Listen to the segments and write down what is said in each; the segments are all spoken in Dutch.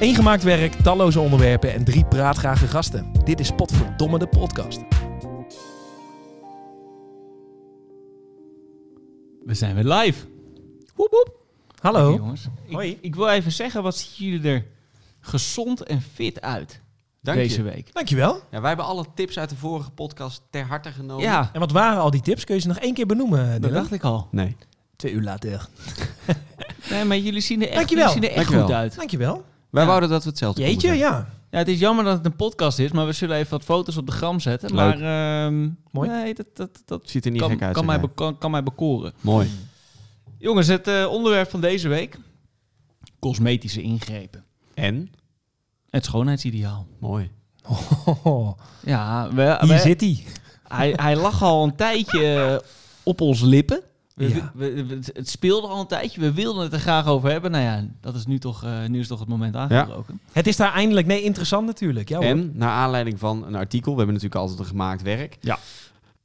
Eén gemaakt werk, talloze onderwerpen en drie praatgrage gasten. Dit is Potverdomme de podcast. We zijn weer live. Woep woep. Hallo. Hey, jongens. Ik, Hoi. Ik wil even zeggen, wat zien jullie er gezond en fit uit Dank deze je. week? Dankjewel. Ja, wij hebben alle tips uit de vorige podcast ter harte genomen. Oh. Ja, En wat waren al die tips? Kun je ze nog één keer benoemen, dat Dylan? dacht ik al. Nee. Twee uur later. Nee, maar jullie zien er echt, Dankjewel. jullie zien er echt Dankjewel. goed uit. Dankjewel. Wij Ja. wouden dat we hetzelfde Jeetje, konden ja. Ja, het is jammer dat het een podcast is, maar we zullen even wat foto's op de gram zetten. Leuk. Maar ehm, Mooi. nee, dat, dat, dat zeggen. Ziet er niet kan, gek uit. kan, zeg mij jij. beko- kan, mij bekoren. Mooi. Jongens, het eh, onderwerp van deze week. Cosmetische ingrepen. En? Het schoonheidsideaal. Mooi. Ah, Ja, we, Hier we- zit hij. Hij, hij lag al een tijdje eh, op ons lippen. We- Ja. we- we- het- het speelde al een tijdje. We wilden het er graag over hebben. Nou ja, dat is nu toch, eh, nu is toch het moment aangebroken. Het is daar eindelijk... Nee, interessant natuurlijk. Ja, hoor. En, naar aanleiding van een artikel, we hebben natuurlijk altijd een gemaakt werk. Ja.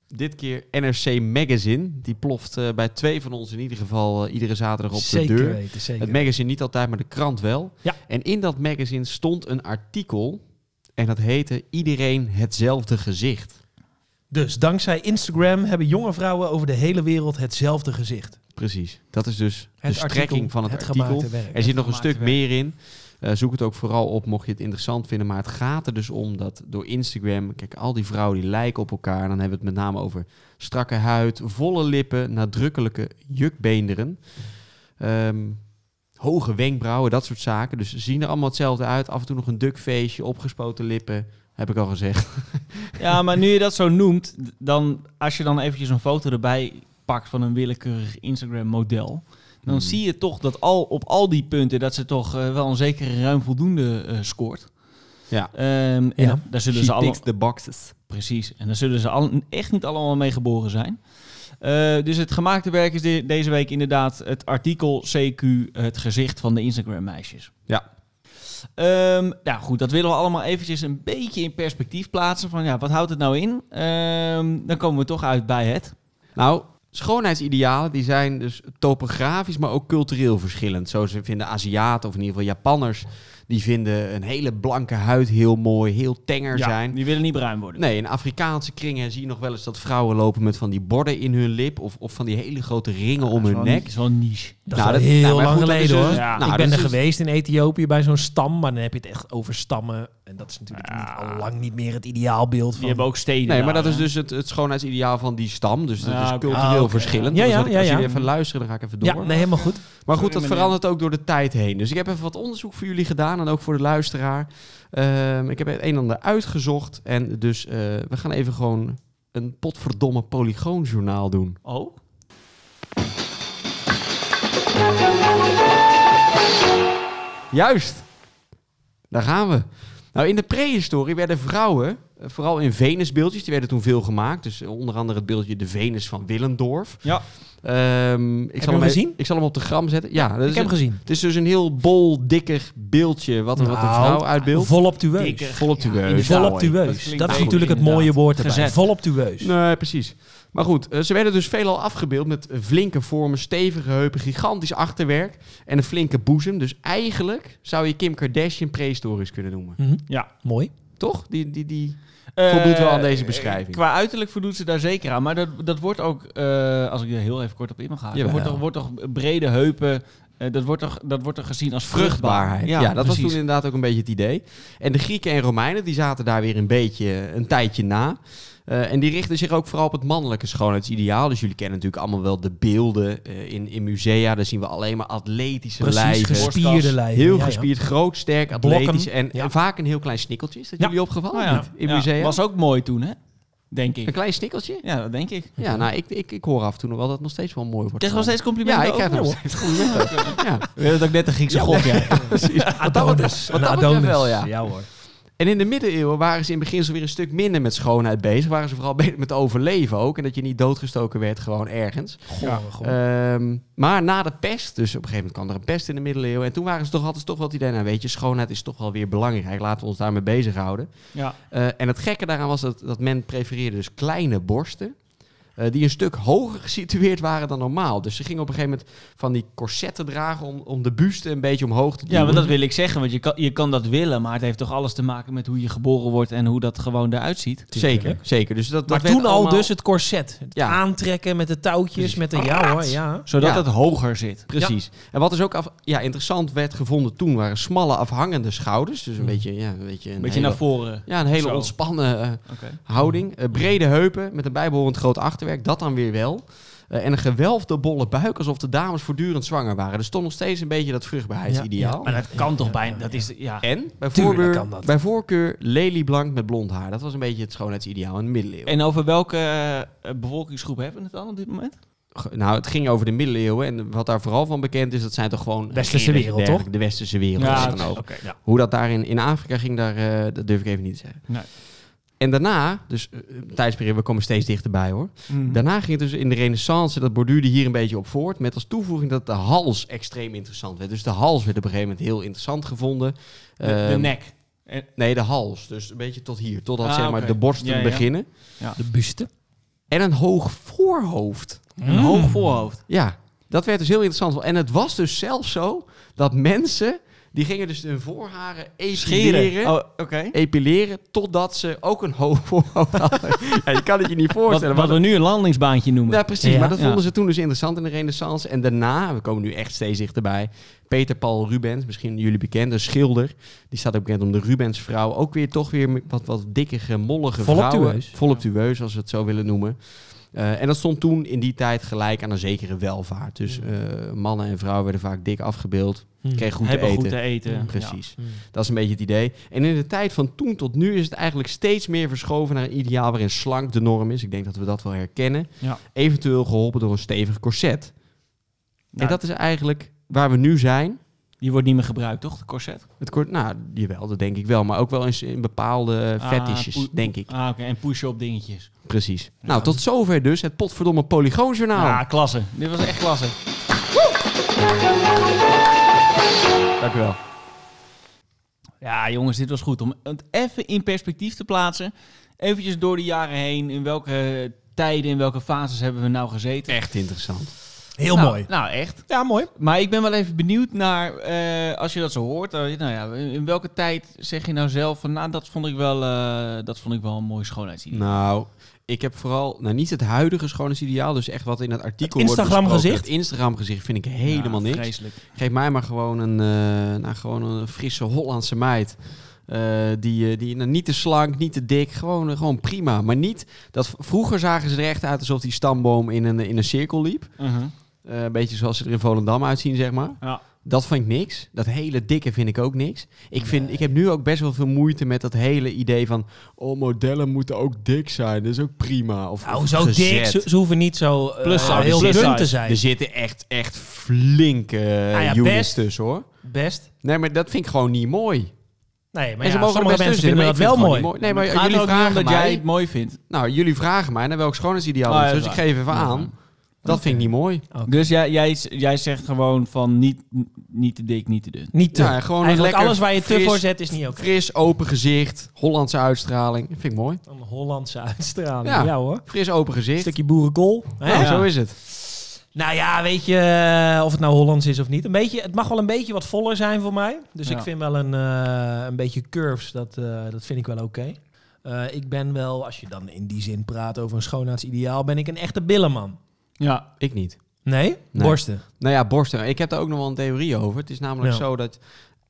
Dit keer NRC Magazine. Die ploft eh, bij twee van ons in ieder geval eh, iedere zaterdag op zeker de deur. weten, zeker. Het magazine niet altijd, maar de krant wel. Ja. En in dat magazine stond een artikel. En dat heette Iedereen hetzelfde gezicht. Dus dankzij Instagram hebben jonge vrouwen over de hele wereld hetzelfde gezicht. Precies. Dat is dus Het de strekking artikel, van het, artikel. gemaakte werk. Er zit nog een gemaakt stuk meer in. Eh, zoek het ook vooral op mocht je het interessant vinden. Maar het gaat er dus om dat door Instagram... Kijk, al die vrouwen die lijken op elkaar. En dan hebben we het met name over strakke huid, volle lippen... nadrukkelijke jukbeenderen. ehm, hoge wenkbrauwen, dat soort zaken. Dus ze zien er allemaal hetzelfde uit. Af en toe nog een dukfeestje, opgespoten lippen. Heb ik al gezegd. Ja, maar nu je dat zo noemt, d- dan als je dan eventjes een foto erbij pakt van een willekeurig Instagram-model, dan Hmm. zie je toch dat al op al die punten dat ze toch eh, wel een zekere ruim voldoende eh, scoort. Ja. Ehm, en Ja. da- daar zullen She ze allemaal ticks the boxes. Precies. En daar zullen ze al, echt niet allemaal mee geboren zijn. Eh, dus het gemaakte werk is de- deze week inderdaad het artikel CQ, het gezicht van de Instagram-meisjes. Ja. Ehm, nou goed, dat willen we allemaal eventjes een beetje in perspectief plaatsen. Van ja, wat houdt het nou in? Ehm, dan komen we toch uit bij het. Nou, schoonheidsidealen die zijn dus topografisch, maar ook cultureel verschillend. Zo ze vinden Aziaten, of in ieder geval Japanners, die vinden een hele blanke huid heel mooi, heel tenger zijn. Die willen niet bruin worden. Nee, in Afrikaanse kringen zie je nog wel eens dat vrouwen lopen met van die borden in hun lip of, of van die hele grote ringen om hun nek. Zo'n niche. Dat Nou, is wel dat- heel nou, maar lang goed, dat is geleden dus- hoor. ja. Nou, ik ben dat er is dus- geweest in Ethiopië bij zo'n stam, maar dan heb je het echt over stammen. En dat is natuurlijk Ja. niet, al lang niet meer het ideaalbeeld van... Die hebben ook steden. Nee, maar daar, dat is hè? dus het, het schoonheidsideaal van die stam. Dus dat Ja, is oké. cultureel Ah, oké. verschillend. Ja, Dus ja, dat- ja, als ja. jullie even luisteren, dan ga ik even door. Ja, nee, helemaal goed. Maar Sorry, goed, dat meneer. verandert ook door de tijd heen. Dus ik heb even wat onderzoek voor jullie gedaan en ook voor de luisteraar. Ehm, ik heb het een en ander uitgezocht. En dus eh, we gaan even gewoon een potverdomme polygoonjournaal doen. Oh? Juist! Daar gaan we. Nou, in de prehistorie werden vrouwen, eh, vooral in Venusbeeldjes, die werden toen veel gemaakt. Dus eh, onder andere het beeldje de Venus van Willendorf. Ja. Ehm, ik je hem hem e- gezien? Ik zal hem op de gram zetten. Ja, dat Ik heb is hem een- gezien. het is dus een heel bol, dikker beeldje wat, een- wat een Nou, vrouw uitbeeldt. eh, Volop tueus. Dikker. Volop tueus. Volop Dat tueus. klinkt Dat is beter, natuurlijk het inderdaad. mooie woord erbij. Gezet. Volop tueus. Nee, precies. Maar goed, eh, ze werden dus veelal afgebeeld met flinke vormen, stevige heupen, gigantisch achterwerk en een flinke boezem. Dus eigenlijk zou je Kim Kardashian prehistorisch kunnen noemen. Mhm. Ja. Mooi. Toch? Die, die, die... Eh, Voldoet wel aan deze beschrijving. Qua uiterlijk voldoet ze daar zeker aan. Maar dat, dat wordt ook, eh, als ik er heel even kort op in mag gaan, Jawel. wordt toch, wordt toch brede heupen, eh, dat, wordt toch, dat wordt toch gezien als Vruchtbaarheid. vruchtbaarheid. Ja, dat was precies. toen inderdaad ook een beetje het idee. En de Grieken en Romeinen, die zaten daar weer een beetje een tijdje na. Eh, en die richten zich ook vooral op het mannelijke schoonheidsideaal. Dus jullie kennen natuurlijk allemaal wel de beelden eh, in, in musea. Daar zien we alleen maar atletische Precies, lijven. gespierde lijven. Heel Ja, ja. gespierd, groot, sterk, Blokken, atletisch en, ja. en vaak een heel klein snikkeltje. Is dat Ja. jullie opgevallen? Nou ja, Niet in ja, musea? was ook mooi toen, hè? Denk Een ik. klein snikkeltje? Ja, dat denk ik. Ja, nou, ik, ik, ik hoor af en toe nog wel dat het nog steeds wel mooi wordt. Krijg je nog steeds Ja, complimenten ik krijg over? nog steeds complimenten. Ja, We hebben het ook net een Griekse god, ja. precies. Adonis. Wat Een dat betreft Adonis. wel, ja. hoor. En in de middeleeuwen waren ze in het begin zo weer een stuk minder met schoonheid bezig. Waren ze vooral bezig met overleven ook. En dat je niet doodgestoken werd gewoon ergens. Goh, goh. Ehm, maar na de pest, dus op een gegeven moment kwam er een pest in de middeleeuwen. En toen waren ze toch, hadden ze toch wel het idee, nou weet je, schoonheid is toch wel weer belangrijk. Laten we ons daarmee bezighouden. ja. Eh, en het gekke daaraan was dat, dat men prefereerde dus kleine borsten. eh, die een stuk hoger gesitueerd waren dan normaal. Dus ze gingen op een gegeven moment van die corsetten dragen om, om de buste een beetje omhoog te duwen. Ja, maar dat wil ik zeggen, want je kan, je kan dat willen, maar het heeft toch alles te maken met hoe je geboren wordt en hoe dat gewoon eruit ziet. Zeker, zeker. Dus Maar dat, dat werd toen al allemaal- dus het corset. Het Ja. aantrekken met de touwtjes, met de... Ja hoor, ja. Zodat Ja. het hoger zit. Precies. En wat dus ook af, ja, interessant werd gevonden toen waren smalle afhangende schouders. Dus een Hmm. beetje, ja, een beetje, een Een beetje hele- naar voren. ja, een hele Zo. ontspannen eh, Oké. houding. Eh, brede heupen met een bijbehorend groot achterwerk, dat dan weer wel. Eh, en een gewelfde bolle buik, alsof de dames voortdurend zwanger waren. Dus toch nog steeds een beetje dat vruchtbaarheidsideaal. Maar dat kan toch bijna, dat is, ja. En bij Tuurlijk voorkeur, kan dat. bij voorkeur lelieblank met blond haar. Dat was een beetje het schoonheidsideaal in de middeleeuwen. En over welke eh, bevolkingsgroep hebben we het dan op dit moment? Ge- Nou, het ging over de middeleeuwen. En wat daar vooral van bekend is, dat zijn toch gewoon... Westerse regeren en wereld, toch? dergelijke. De westerse wereld. Ja, is het het- dan ook. oké, ja. Hoe dat daar in, in Afrika ging, daar, eh, dat durf ik even niet te zeggen. Nee. En daarna, dus eh, een tijdsperiode, we komen steeds dichterbij hoor. Mhm. Hm. Daarna ging het dus in de renaissance, dat borduurde hier een beetje op voort. Met als toevoeging dat de hals extreem interessant werd. Dus de hals werd op een gegeven moment heel interessant gevonden. De, de Ehm, nek. Nee, de hals. Dus een beetje tot hier. Totdat Ah, zeg maar oké. de borsten Ja, ja. beginnen. De buste. En een hoog voorhoofd. Een hoog voorhoofd. Ja, dat werd dus heel interessant. En het was dus zelfs zo dat mensen, die gingen dus hun voorharen epileren. Scheren. Oh, oké. Epileren totdat ze ook een hoog voorhoofd hadden. ja, je kan het je niet Wat, voorstellen. wat we nu een landingsbaantje noemen. Ja, precies. Ja. maar dat vonden Ja. ze toen dus interessant in de renaissance. En daarna, we komen nu echt steeds dichterbij, Peter Paul Rubens, misschien jullie bekend, een schilder. Die staat ook bekend om de Rubensvrouw. Ook weer toch weer met wat, wat dikkere, mollige vrouwen. Voluptueus. Voluptueus, als we het zo willen noemen. Eh, en dat stond toen in die tijd gelijk aan een zekere welvaart. Dus eh, mannen en vrouwen werden vaak dik afgebeeld, kregen goed te Mm. hebben eten. goed te eten. Mm, Ja. Precies. Dat is een beetje het idee. En in de tijd van toen tot nu is het eigenlijk steeds meer verschoven naar een ideaal waarin slank de norm is. Ik denk dat we dat wel herkennen. Ja. Eventueel geholpen door een stevig corset. Nou, en dat is eigenlijk waar we nu zijn. Die wordt niet meer gebruikt, toch? De corset? Het kort, nou, jawel, dat denk ik wel. Maar ook wel eens in bepaalde Ah, fetishes, poe- denk ik. Ah, oké. En push-up dingetjes. Precies. Nou, tot zover dus het potverdomme polygoonjournaal. Ah, klasse. Dit was echt klasse. Dank u wel. Ja, jongens, dit was goed. Om het even in perspectief te plaatsen. Eventjes door de jaren heen. In welke tijden, in welke fases hebben we nou gezeten? Echt interessant. Heel Nou, mooi. Nou, echt. Ja, mooi. Maar ik ben wel even benieuwd naar, eh, als je dat zo hoort, eh, nou ja, in welke tijd zeg je nou zelf van, nou, dat vond ik wel, eh, dat vond ik wel een mooi schoonheidsidee. Nou, ik heb vooral, nou niet het huidige schoonheidsideaal, dus echt wat in het artikel Het wordt besproken. Instagram-gezicht? Het Instagram-gezicht vind ik helemaal Ja, niks. Vreselijk. Geef mij maar gewoon een, eh, nou, gewoon een frisse Hollandse meid. Eh, die eh, die nou, niet te slank, niet te dik. Gewoon, eh, gewoon prima. Maar niet dat v- vroeger zagen ze er echt uit alsof die stamboom in een, in een cirkel liep. Mhm. Eh, een beetje zoals ze er in Volendam uitzien, zeg maar. Ja. Dat vind ik niks. Dat hele dikke vind ik ook niks. Ik, vind, ik heb nu ook best wel veel moeite met dat hele idee van... Oh, modellen moeten ook dik zijn. Dat is ook prima. Of, Nou, of zo dik. gezet. Ze, ze hoeven niet zo eh, Plus size, heel plus dun size. te zijn. Er zitten echt, echt flinke eh, Ah ja, units best. tussen, hoor. Best. Nee, maar dat vind ik gewoon niet mooi. Nee, maar en ze ja, mogen er sommige best mensen vinden tussen, maar dat ik vind wel het mooi. gewoon niet Nee, Het maar gaat jullie er ook niet om vragen, dat mij, jij het mooi vindt. Nou, jullie vragen mij naar welk schoonheidsideaal Oh, is. ja, Dus dat ik is waar. geef even Ja. aan. Dat vind ik niet mooi. Dus jij, jij, jij zegt gewoon van niet, niet te dik, niet te dun. Niet te. Ja, gewoon een Eigenlijk lekker alles waar je te fris- voor zet is niet oké. Fris, open gezicht, Hollandse uitstraling. Vind ik mooi. Een Hollandse uitstraling. Ja. Ja, hoor. Fris, open Een gezicht. stukje boerenkool. Hè? Nou, Ja. zo is het. Nou ja, weet je eh, of het nou Hollands is of niet. Een beetje, het mag wel een beetje wat voller zijn voor mij. Dus Ja. ik vind wel een, eh, een beetje curves, dat, eh, dat vind ik wel oké. Eh, ik ben wel, als je dan in die zin praat over een schoonheidsideaal, ben ik een echte billenman. Ja. Ik niet. Nee? Nee. Borsten. Nou ja, borsten. Ik heb daar ook nog wel een theorie over. Het is namelijk Ja. zo dat...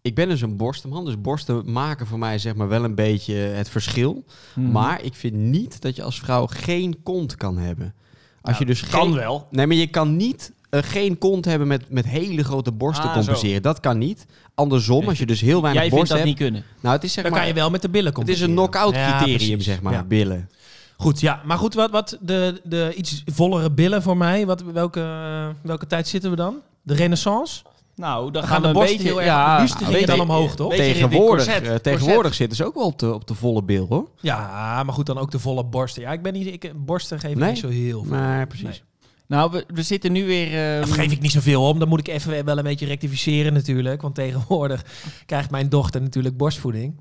Ik ben dus een borstenman, dus borsten maken voor mij zeg maar wel een beetje het verschil. Hmm. Mhm. Maar ik vind niet dat je als vrouw geen kont kan hebben. Als je dus geen- wel. Nee, maar je kan niet eh, geen kont hebben met, met hele grote borsten Ah, compenseren. Dat kan niet. Andersom, als je dus heel weinig Jij vindt borst dat hebt. niet kunnen. Nou, het is zeg Dan maar. kan je wel met de billen het is een compenseren. knock-out Ja, criterium, precies. zeg maar. Ja. Billen. Goed, ja. Maar goed, wat, wat de, de iets vollere billen voor mij. Wat, welke, eh, welke tijd zitten we dan? De renaissance? Nou, dan Dan gaan gaan we de een borsten beetje... heel erg ja, op de buste nou, gingen weet dan je- omhoog, toch? weet je, in die Tegenwoordig, corset- eh, corset. tegenwoordig zitten ze ook wel op de, op de volle bil, hoor. Ja, maar goed, dan ook de volle borsten. Ja, ik ben niet... Ik, borsten geef ik Nee? niet zo heel veel. Maar precies. Nou, we, we zitten nu weer... ehm, Daar geef ik niet zoveel om. Dan moet ik even wel een beetje rectificeren natuurlijk. Want tegenwoordig krijgt mijn dochter natuurlijk borstvoeding.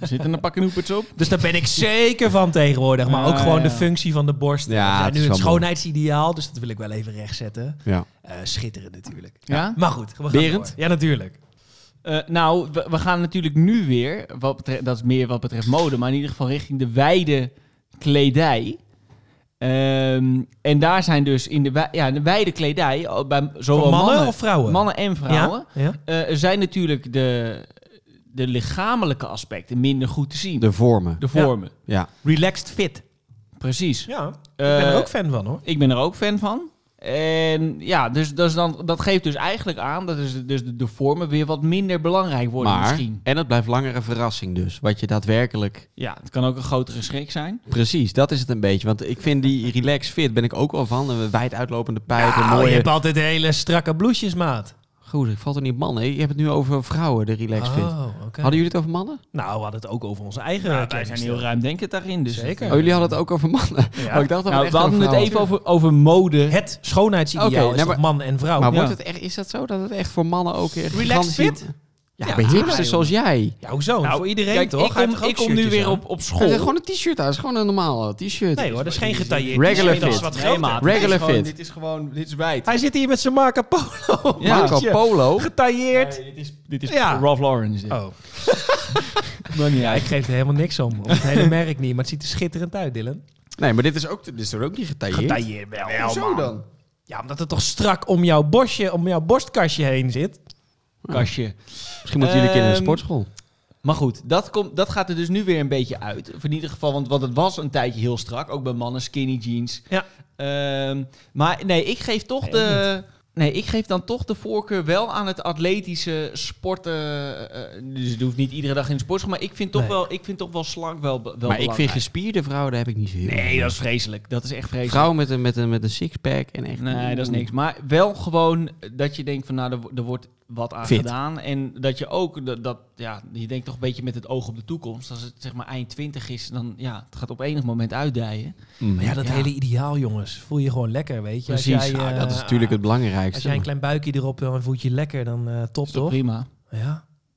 Er zitten een pak hoepers op. Dus daar ben ik zeker van tegenwoordig. Maar ook Ja, gewoon ja. de functie van de borst. Ja, Ja, het nu is een wel mooi. schoonheidsideaal, dus dat wil ik wel even rechtzetten. Ja. Eh schitterend natuurlijk. Ja? Maar goed, we gaan Berend? door. Ja, natuurlijk. Eh, nou, we, we gaan natuurlijk nu weer, wat betreft, dat is meer wat betreft mode, maar in ieder geval richting de wijde kledij. Ehm, en daar zijn dus in de, wij- ja, de wijde kledij, oh, bij, zowel Voor mannen, mannen, of vrouwen? mannen en vrouwen, Ja? ja? eh, er zijn natuurlijk de, de lichamelijke aspecten minder goed te zien. De, De vormen. vormen, Ja. Relaxed fit. precies. Ja, ik Eh, ben er ook fan van hoor. Ik ben er ook fan van. En ja, dus, dat is dan, dat geeft dus eigenlijk aan dat is dus de, de vormen weer wat minder belangrijk worden Maar, misschien. en het blijft langer een verrassing dus. Wat je daadwerkelijk... Ja, het kan ook een grotere schrik zijn. Precies, dat is het een beetje. Want ik vind die relax fit ben ik ook wel van. Een wijd uitlopende pijpen, Nou, eh, mooie... je hebt altijd hele strakke blouses, maat. Goed, ik val er niet mannen. Je hebt het nu over vrouwen, de relax fit. Oh, oké. Hadden jullie het over mannen? Nou, we hadden het ook over onze eigen Ja, Nou, wij zijn kledingstijl. heel ruimdenkend daarin. Dus Zeker. Oh, jullie hadden het ook over mannen. Ja. Oh, ik dacht dat we Nou, echt we hadden over het vrouwen- even over, over mode. Het schoonheidsideaal Oké, is nou, toch maar- man en vrouw. Maar Ja. wordt het echt, is dat zo dat het echt voor mannen ook echt Relaxed gigantisch- fit? Ja, Ja, bij tuurlijk, hipsters jongen. zoals jij. Ja, hoezo? Nou, Voor iedereen Kijk, toch? ik Hij heeft kom, toch ook ik kom nu shirtjes weer aan? op, op Er school. zit gewoon een t-shirt aan. Het is gewoon een normaal eh, t-shirt. Nee hoor, dat is geen getailleerd. Regular t-shirt, dat is fit. wat groter. Regular fit. Dit is gewoon, dit is wijd. Hij zit hier met zijn Marco Polo. Ja. Marco maatje. Polo. Getailleerd. dit is, dit is Ja. Ralph Lauren. Is dit. Oh, Maakt niet ja, ik uit. geef er helemaal niks om. Op het hele merk niet, maar het ziet er schitterend uit, Dylan. Nee, maar dit is, ook, dit is toch ook niet getailleerd? Getailleerd wel. Hoezo dan? Ja, omdat het toch strak om jouw borstje, om jouw borstkastje heen zit. Kastje. Misschien moeten jullie kinderen in Ehm, een sportschool. Maar goed, dat, komt, dat gaat er dus nu weer een beetje uit. Of in ieder geval, want, want het was een tijdje heel strak. Ook bij mannen, skinny jeans. Ja. Ehm, maar nee, ik geef toch Nee, de... Nee, ik geef dan toch de voorkeur wel aan het atletische sporten. eh, dus het hoeft niet iedere dag in de sportschool. Maar ik vind toch, Nee. wel, ik vind toch wel slank wel, be- wel Maar ik vind belangrijk. gespierde vrouwen, daar heb ik niet zo heel Nee, veel dat is vreselijk. Dat is echt vreselijk. Vrouwen met een, met een, met een sixpack en echt... Mm. Nee, dat is niks. Maar wel gewoon dat je denkt van nou, er, wo- er wordt wat aan Fit. gedaan. En dat je ook, dat, dat, ja, je denkt toch een beetje met het oog op de toekomst. Als het zeg maar eind 20 is, dan ja, het gaat op enig moment uitdijen. Mm. Maar ja, dat Ja. hele ideaal, jongens. Voel je gewoon lekker, weet je. Als Precies, jij, ja, eh, dat is natuurlijk het Als belangrijkste. jij een klein buikje erop wil en voelt je lekker, dan eh, top, Is toch toch? prima? Ja.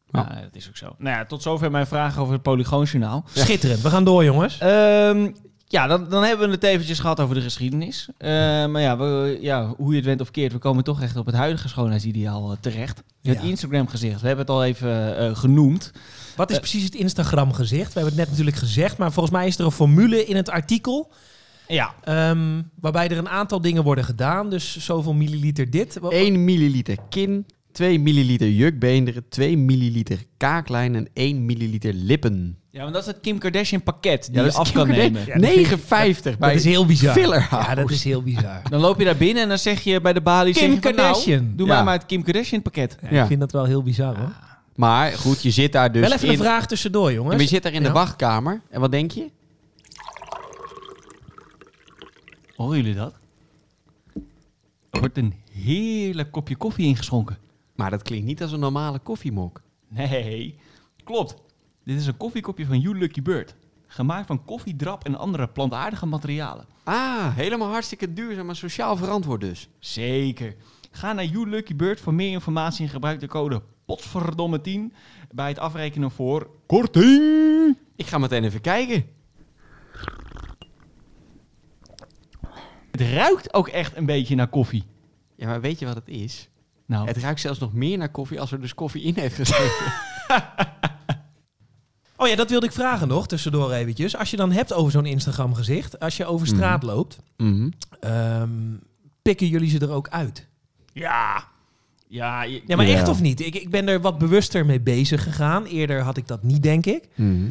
Ja. Ja, dat is ook zo. Nou ja, tot zover mijn vraag over het Polygoonjournaal. Schitterend. We gaan door, jongens. Ehm, ja, dan, dan hebben we het eventjes gehad over de geschiedenis. Eh, maar ja, we, ja, hoe je het went of keert, we komen toch echt op het huidige schoonheidsideaal eh, terecht. Het Ja. Instagram-gezicht, we hebben het al even eh, genoemd. Wat is eh, precies het Instagram-gezicht? We hebben het net natuurlijk gezegd, maar volgens mij is er een formule in het artikel... Ja, Ehm, waarbij er een aantal dingen worden gedaan. Dus zoveel milliliter dit. Wa- 1 milliliter kin, 2 milliliter jukbeenderen, 2 milliliter kaaklijn en 1 milliliter lippen. Ja, want dat is het Kim Kardashian pakket die Ja, je dat is af kan Kim Kardashian. nemen. Ja, dat vind ik- 9,50 Dat bij is heel bizar. Filler Ja, dat is heel bizar. Dan loop je daar binnen en dan zeg je bij de balie... Kim zeg je van, nou, Kardashian. doe Ja. mij maar het Kim Kardashian pakket. Ja, Ja. Ik vind dat wel heel bizar hoor. Maar goed, je zit daar dus wel even een in... vraag tussendoor Ja, maar jongens. je zit daar in Ja. de wachtkamer. En wat denk je? Horen jullie dat? Er wordt een heerlijk kopje koffie ingeschonken. Maar dat klinkt niet als een normale koffiemok. Nee, klopt. Dit is een koffiekopje van You Lucky Bird. Gemaakt van koffiedrap en andere plantaardige materialen. Ah, helemaal hartstikke duurzaam, maar sociaal verantwoord dus. Zeker. Ga naar You Lucky Bird voor meer informatie en gebruik de code POTVERDOMME10 bij het afrekenen voor korting. Ik ga meteen even kijken. Het ruikt ook echt een beetje naar koffie. Ja, maar weet je wat het is? Nou, Het ruikt zelfs nog meer naar koffie als er dus koffie in heeft gezeten. Oh ja, dat wilde ik vragen nog tussendoor eventjes. Als je dan hebt over zo'n Instagram gezicht. Als je over straat Mhm. loopt. Mhm. ehm, pikken jullie ze er ook uit? ja. Ja, je- Ja, maar Ja. echt of niet? Ik, ik ben er wat bewuster mee bezig gegaan. Eerder had ik dat niet denk ik. Mhm.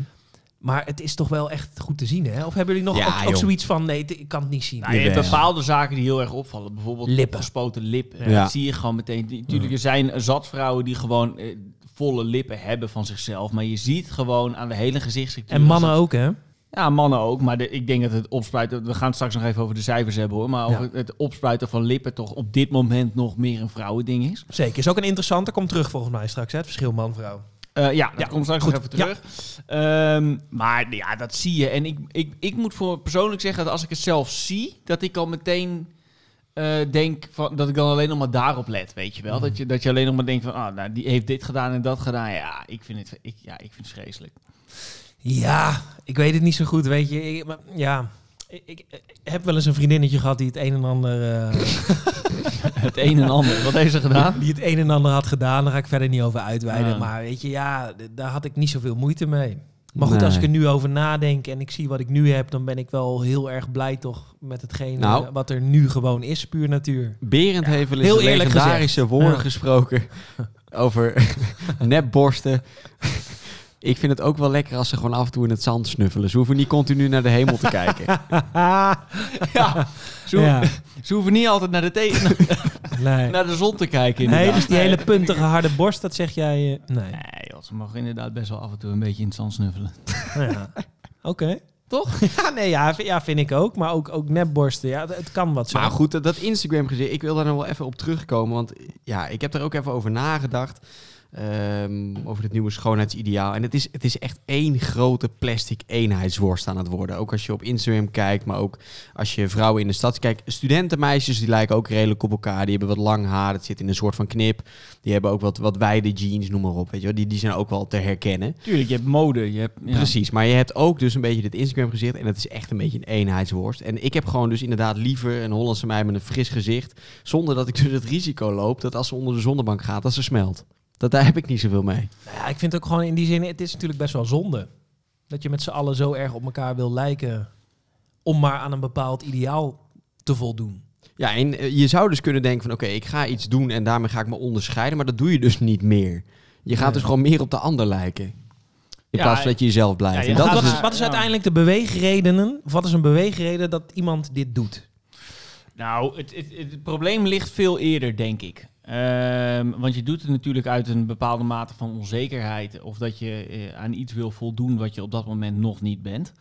Maar het is toch wel echt goed te zien hè? Of hebben jullie nog Ja, ook- ook, joh. zoiets van nee, t- ik kan het niet zien. Nou, je hebt Jawel. bepaalde zaken die heel erg opvallen. Bijvoorbeeld Lippen. gespoten lippen. Eh, Ja. Dat zie je gewoon meteen. Die- Tuurlijk, er zijn zat vrouwen die gewoon eh, volle lippen hebben van zichzelf. Maar je ziet gewoon aan de hele gezichtsstructuur... En mannen dat- ook hè? Ja, mannen ook. Maar de- ik denk dat het opspuiten... We gaan het straks nog even over de cijfers hebben hoor. Maar Ja. over het opspuiten van lippen toch op dit moment nog meer een vrouwending is. Zeker. Is ook een interessante. Komt terug volgens mij straks hè? Het verschil man-vrouw. Eh, ja, dat Ja, komt straks goed. nog even terug. Ehm, maar ja, dat zie je. En ik, ik, ik moet voor persoonlijk zeggen dat als ik het zelf zie, dat ik al meteen eh, eh, denk van, dat ik dan alleen nog maar daarop let, weet je wel. Dat, je, dat je alleen nog maar denkt van, ah, nou, die heeft dit gedaan en dat gedaan. Ja, ik vind het, ik, ja, ik vind het vreselijk. Ja, ik weet het niet zo goed, weet je. Ik, maar, ja, ik, ik- ik heb wel eens een vriendinnetje gehad die het een en ander... eh, het een en ander. Wat heeft ze gedaan? Die het een en ander had gedaan, daar ga ik verder niet over uitweiden. Ah. Maar weet je, ja, d- daar had ik niet zoveel moeite mee. Maar goed, Nee. als ik er nu over nadenk en ik zie wat ik nu heb, dan ben ik wel heel erg blij toch met hetgene Nou. eh, wat er nu gewoon is, puur natuur. Berend heeft wel eens heel de eerlijk legendarische woorden Ja. gesproken over nepborsten. Ik vind het ook wel lekker als ze gewoon af en toe in het zand snuffelen. Ze hoeven niet continu naar de hemel te kijken. Ja, ze, hoeven- Ja, ze hoeven niet altijd naar de, te- nee. naar de zon te kijken. nee, inderdaad. dus die hele puntige harde borst, dat zeg jij... eh, nee. Nee, joh, ze mogen inderdaad best wel af en toe een beetje in het zand snuffelen. Nou Ja. Oké. Toch? ja, nee, ja, v- ja, vind ik ook. Maar ook, ook nepborsten, ja, d- het kan wat zo. Maar goed, dat- dat Instagram gezin, ik wil daar nog wel even op terugkomen. Want ja, ik heb er ook even over nagedacht. ehm, over dit nieuwe schoonheidsideaal. En het is, het is echt één grote plastic eenheidsworst aan het worden. Ook als je op Instagram kijkt, maar ook als je vrouwen in de stad kijkt. Studentenmeisjes die lijken ook redelijk op elkaar. Die hebben wat lang haar, het zit in een soort van knip. Die hebben ook wat, wat wijde jeans, noem maar op. Weet je wel. Die, die zijn ook wel te herkennen. Tuurlijk, je hebt mode. Je hebt, ja. Precies, maar je hebt ook dus een beetje dit Instagram gezicht en dat is echt een beetje een eenheidsworst. En ik heb gewoon dus inderdaad liever een Hollandse meid met een fris gezicht, zonder dat ik dus het risico loop dat als ze onder de zonnebank gaat, dat ze smelt. Dat, daar heb ik niet zoveel mee. Nou ja, ik vind ook gewoon in die zin, het is natuurlijk best wel zonde. Dat je met z'n allen zo erg op elkaar wil lijken. Om maar aan een bepaald ideaal te voldoen. Ja, en eh, je zou dus kunnen denken van oké, ik ga iets doen en daarmee ga ik me onderscheiden, maar dat doe je dus niet meer. Je gaat Nee. dus gewoon meer op de ander lijken. In Ja, plaats van dat je jezelf blijft. ja, je En Wat- dat gaat wat, is is, dus- wat is ja. uiteindelijk de beweegredenen? Wat is een beweegreden dat iemand dit doet? Nou, het, het, het, het probleem ligt veel eerder, denk ik. Ehm, want je doet het natuurlijk uit een bepaalde mate van onzekerheid. Of dat je eh, aan iets wil voldoen wat je op dat moment nog niet bent.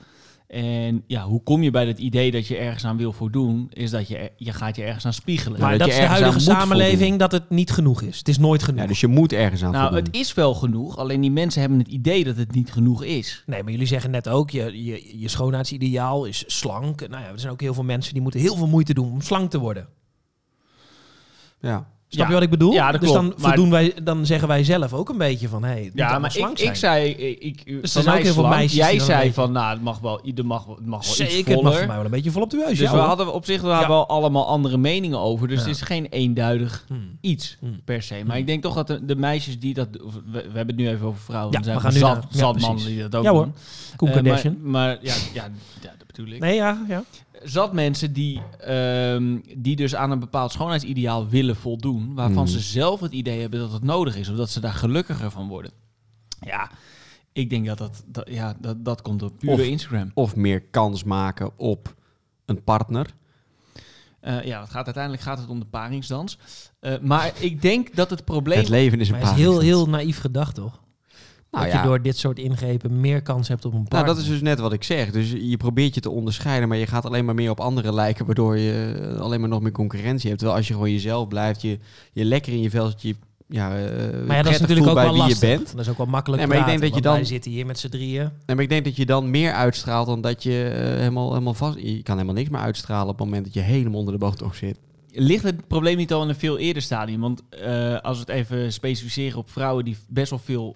En ja, hoe kom je bij het idee dat je ergens aan wil voldoen? Is dat je, er- je gaat je ergens aan spiegelen. maar dat dat je is de ergens huidige aan moet samenleving voldoen. dat het niet genoeg is. Het is nooit genoeg. ja, dus je moet ergens aan nou, voldoen. het is wel genoeg. Alleen die mensen hebben het idee dat het niet genoeg is. Nee, maar jullie zeggen net ook, je, je, je schoonheidsideaal is slank. Nou ja, er zijn ook heel veel mensen die moeten heel veel moeite doen om slank te worden. Ja. Snap Ja. je wat ik bedoel? Ja, dat dus klopt. dan, Maar- voldoen wij, dan zeggen wij zelf ook een beetje van... Hey, het moet Ja, allemaal maar slank ik, zijn. ik zei, ik, ik Er van zijn mij ook heel veel slank. meisjes die Jij dan een zei beetje- van, nou, het mag wel, ieder mag, het mag Oh, wel iets Zeker, het mag voller. voor mij wel een beetje volop de Dus buis. we hadden op zich we hadden Ja. wel allemaal andere meningen over. Dus Ja. het is geen eenduidig iets Hmm. per se. Maar Hmm. ik denk toch dat de, de meisjes die dat... of We, we hebben het nu even over vrouwen. Ja, er zijn we ook gaan nu zat, naar- ja, zat precies. mannen die dat ook Ja hoor, doen. Koen Eh, Kardashian. maar maar ja, ja, ja, dat bedoel ik. nee, ja, ja. Zat mensen die, ehm, die dus aan een bepaald schoonheidsideaal willen voldoen... waarvan Hmm. ze zelf het idee hebben dat het nodig is... of dat ze daar gelukkiger van worden. Ja, ik denk dat dat, dat, ja, dat, dat komt door pure Of- Instagram. Of meer kans maken op een partner. Eh, ja, het gaat, uiteindelijk gaat het om de paringsdans. Eh, maar ik denk dat het probleem... Het leven is een Maar het is paar. heel, heel naïef gedacht, toch? Nou dat ja. je door dit soort ingrepen meer kans hebt op een Nou, partner. dat is dus net wat ik zeg. Dus je probeert je te onderscheiden, maar je gaat alleen maar meer op anderen lijken, waardoor je eh, alleen maar nog meer concurrentie hebt. Terwijl als je gewoon jezelf blijft, je, je lekker in je vel zit, je ja, eh, maar ja, dat is prettig natuurlijk voelt ook bij wel wie lastig. je bent. Dat is ook wel makkelijk Nee, maar ik denk praten, want dat je dan- Mm. wij zitten hier met z'n drieën. Nee, maar ik denk dat je dan meer uitstraalt dan dat je eh, helemaal, helemaal vast... Je kan helemaal niks meer uitstralen op het moment dat je helemaal onder de boogtocht zit. Ligt het probleem niet al in een veel eerder stadium? Want eh, als we het even specificeren op vrouwen die best wel veel...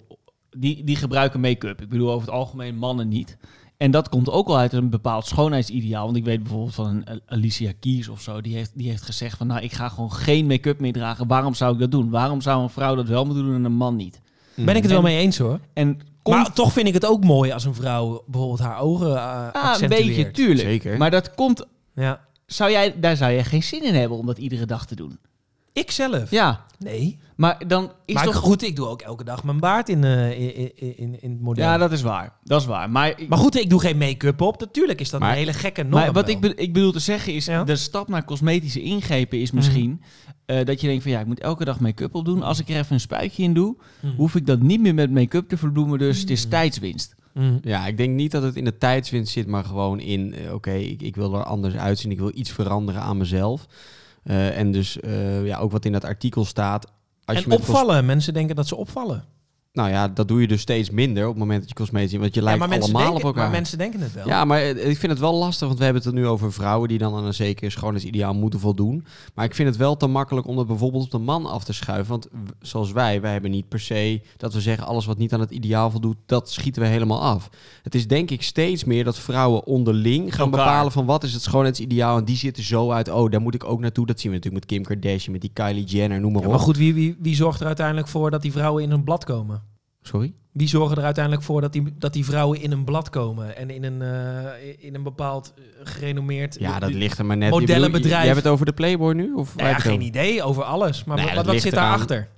Die, die gebruiken make-up. Ik bedoel over het algemeen mannen niet. En dat komt ook al uit een bepaald schoonheidsideaal. Want ik weet bijvoorbeeld van een A- Alicia Keys of zo. Die heeft, die heeft gezegd van nou ik ga gewoon geen make-up meer dragen. Waarom zou ik dat doen? Waarom zou een vrouw dat wel moeten doen en een man niet? Ben Mm, ik het wel En- mee eens, hoor. En komt Maar toch vind ik het ook mooi als een vrouw bijvoorbeeld haar ogen eh, ah, een beetje accentueert. tuurlijk. Zeker. Maar dat komt... Ja. Zou jij, daar zou jij geen zin in hebben om dat iedere dag te doen. Ik zelf? Ja, Nee. maar dan is maar toch... ik- goed, ik doe ook elke dag mijn baard in, eh, in, in- in, in het model. Ja, dat is waar. Dat is waar. Maar, Maar goed, ik doe geen make-up op. Natuurlijk is dat Maar- een hele gekke norm. maar wat wel. ik, be- ik bedoel te zeggen is, Ja. de stap naar cosmetische ingrepen is misschien eh, dat je denkt van ja, ik moet elke dag make-up op doen. Als ik er even een spuitje in doe, Mhm. hoef ik dat niet meer met make-up te verbloemen. Dus het is tijdswinst. Mhm. Ja, ik denk niet dat het in de tijdswinst zit, maar gewoon in, eh, oké, ik, ik wil er anders uitzien, ik wil iets veranderen aan mezelf. Eh, en dus eh, ja, ook wat in dat artikel staat. Als en met cos- opvallen. Mensen denken dat ze opvallen. Nou ja, dat doe je dus steeds minder op het moment dat je cosmetisch... ziet, Want je lijkt maar, mensen allemaal denken, op elkaar. maar mensen denken het wel. Ja, maar eh, ik vind het wel lastig, want we hebben het er nu over vrouwen die dan aan een zeker schoonheidsideaal moeten voldoen. Maar ik vind het wel te makkelijk om dat bijvoorbeeld op de man af te schuiven. Want w- zoals wij, wij hebben niet per se dat we zeggen alles wat niet aan het ideaal voldoet, dat schieten we helemaal af. Het is denk ik steeds meer dat vrouwen onderling gaan Elkaar. bepalen van wat is het schoonheidsideaal. En die zitten zo uit, oh daar moet ik ook naartoe. Dat zien we natuurlijk met Kim Kardashian, met die Kylie Jenner, noem maar Ja, op. maar goed, wie, wie, wie zorgt er uiteindelijk voor dat die vrouwen in een blad komen? Sorry? Wie zorgen er uiteindelijk voor dat die, dat die vrouwen in een blad komen en in een, eh, in een bepaald eh, gerenommeerd. Ja, dat ligt er maar net. Je bedoelt- Modellenbedrijf. Jij hebt het over de Playboy nu? Of Nou ja, geen idee over alles. Maar Nee, wat, dat wat ligt zit eraan. Nou daarachter?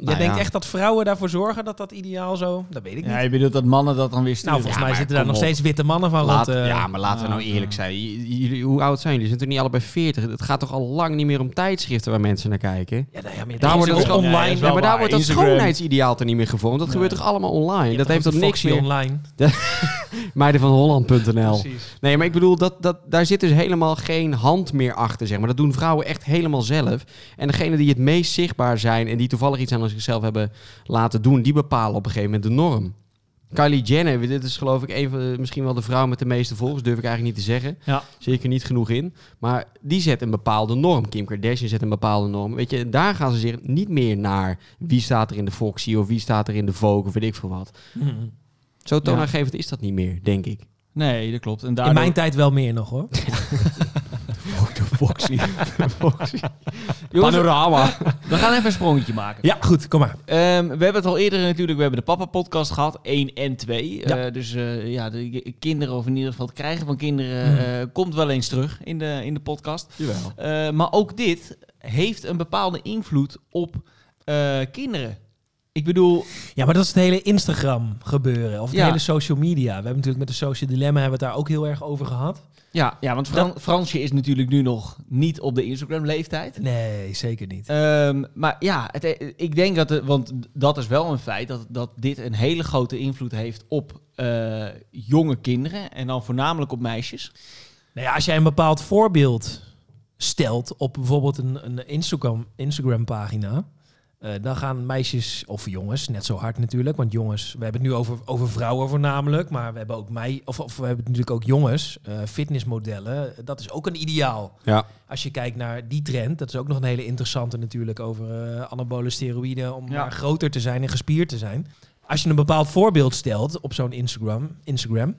Jij denkt echt dat vrouwen daarvoor zorgen dat dat ideaal zo. Dat weet ik niet. Ja, je bedoelt dat mannen dat dan weer sturen. nou, volgens Ja, mij maar zitten daar kom nog op. steeds witte mannen van Laat- rond. eh, ja, maar laten we nou ah, eerlijk ah. zijn. J- jullie- hoe oud zijn jullie? Ze zitten niet allebei 40. Het gaat toch al lang niet meer om tijdschriften waar mensen naar kijken? ja, nou ja, maar Daar dat wordt is het ook gewoon- Ja, dat online. is Ja, wel maar waar. daar wordt dat Instagram. schoonheidsideaal er niet meer gevonden. Dat Nee. gebeurt toch allemaal online? Dat heeft toch niks meer meer... online. Meiden van Holland.nl. Precies. Nee, maar ik bedoel, dat, dat, daar zit dus helemaal geen hand meer achter, zeg maar. Dat doen vrouwen echt helemaal zelf. En degene die het meest zichtbaar zijn en die toevallig iets aan zichzelf hebben laten doen, die bepalen op een gegeven moment de norm. Kylie Jenner, dit is geloof ik een van de, misschien wel de vrouw met de meeste volgers, durf ik eigenlijk niet te zeggen. Ja. Zeker niet genoeg in. Maar die zet een bepaalde norm. Kim Kardashian zet een bepaalde norm. Weet je, en daar gaan ze zich niet meer naar wie staat er in de Foxy of wie staat er in de Vogue of weet ik veel wat. Zo toonaangevend is dat niet meer, denk ik. Nou, Nee, dat klopt. En In daardoor... mijn tijd wel meer nog hoor. De Foxy. Jongens, Panorama. we gaan even een sprongetje maken. Ja, goed, kom maar. Ehm, we hebben het al eerder natuurlijk, we hebben de papa-podcast gehad, 1 en 2. dus eh, ja, de de kinderen, of in ieder geval het krijgen van kinderen, Mm. eh, komt wel eens terug in de, in de podcast. Jawel. Eh, maar ook dit heeft een bepaalde invloed op eh, kinderen. Ik bedoel, Ja, maar dat is het hele Instagram gebeuren. Of het Ja. hele social media. We hebben natuurlijk met de social dilemma hebben we het daar ook heel erg over gehad. ja, ja want Fran- Fransje is natuurlijk nu nog niet op de Instagram-leeftijd. Nee, zeker niet. Ehm, maar ja, het, eh, ik denk dat, het- want dat is wel een feit, dat, dat dit een hele grote invloed heeft op eh, jonge kinderen en dan voornamelijk op meisjes. Nou ja, als jij een bepaald voorbeeld stelt op bijvoorbeeld een, een Instagram, Instagram pagina. eh, dan gaan meisjes of jongens, net zo hard natuurlijk. Want jongens, we hebben het nu over, over vrouwen voornamelijk. Maar we hebben ook mei, of, of we hebben natuurlijk ook jongens, eh, fitnessmodellen. Dat is ook een ideaal. Ja. Als je kijkt naar die trend, dat is ook nog een hele interessante natuurlijk over eh anabole steroïden. Om Ja. maar groter te zijn en gespierd te zijn. Als je een bepaald voorbeeld stelt op zo'n Instagram, Instagram,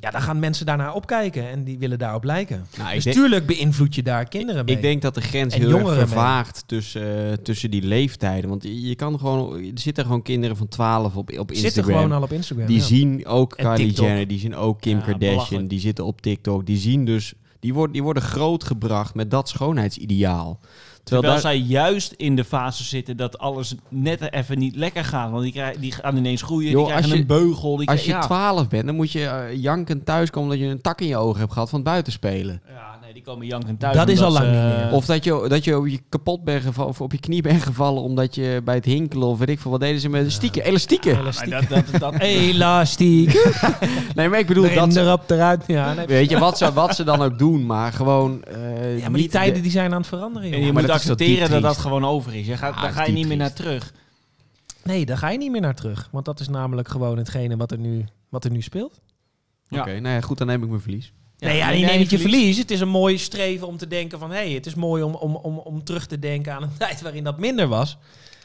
ja, dan gaan mensen daarnaar opkijken en die willen daarop lijken. Nou, ik, Dus denk, tuurlijk beïnvloed je daar kinderen mee. ik denk dat de grens En heel erg jongeren mee. vervaagt tussen, eh, tussen die leeftijden. Want je je kan gewoon, er zitten gewoon kinderen van 12 op, op Zitten Instagram. gewoon al op Instagram. die ja. zien ook En Kylie TikTok. Jenner, die zien ook Kim Ja, Kardashian, belachelijk. die zitten op TikTok. Die zien dus, die worden, die worden grootgebracht met dat schoonheidsideaal. Terwijl, Terwijl daar, zij juist in de fase zitten dat alles net even niet lekker gaat. Want die, krij- die gaan ineens groeien, Joh, die krijgen als je- een beugel. Die als je krij- ja. 12 bent, dan moet je janken jankend thuiskomen dat je een tak in je ogen hebt gehad van buitenspelen. ja, nee, die komen janken thuis. Dat is omdat al lang ze, niet meer. eh, Of dat je, dat je op je kapot bent gevallen of op je knie bent gevallen omdat je bij het hinkelen of weet ik veel wat deden ze met stieken, elastieken. ja, maar dat, dat, dat, Elastiek. Nee, maar ik bedoel Erin, dat. ze- erop, eruit. Ja, nee. Weet je wat ze, wat ze dan ook doen, maar gewoon. eh, Ja, maar die niet tijden de- die zijn aan het veranderen. en joh. je maar moet dat is toch diep accepteren dat dat triest. gewoon over is. Je gaat, Ja, daar dat ga is je niet diep meer naar terug. Nee, daar ga je niet meer naar terug. Want dat is namelijk gewoon hetgene wat er nu, wat er nu speelt. Ja. Oké, nou ja, goed, dan neem ik mijn verlies. nee, ja, neem je jij neemt niet je verlies. verlies. Het is een mooi streven om te denken van... hé, hey, het is mooi om, om, om, om terug te denken aan een tijd waarin dat minder was.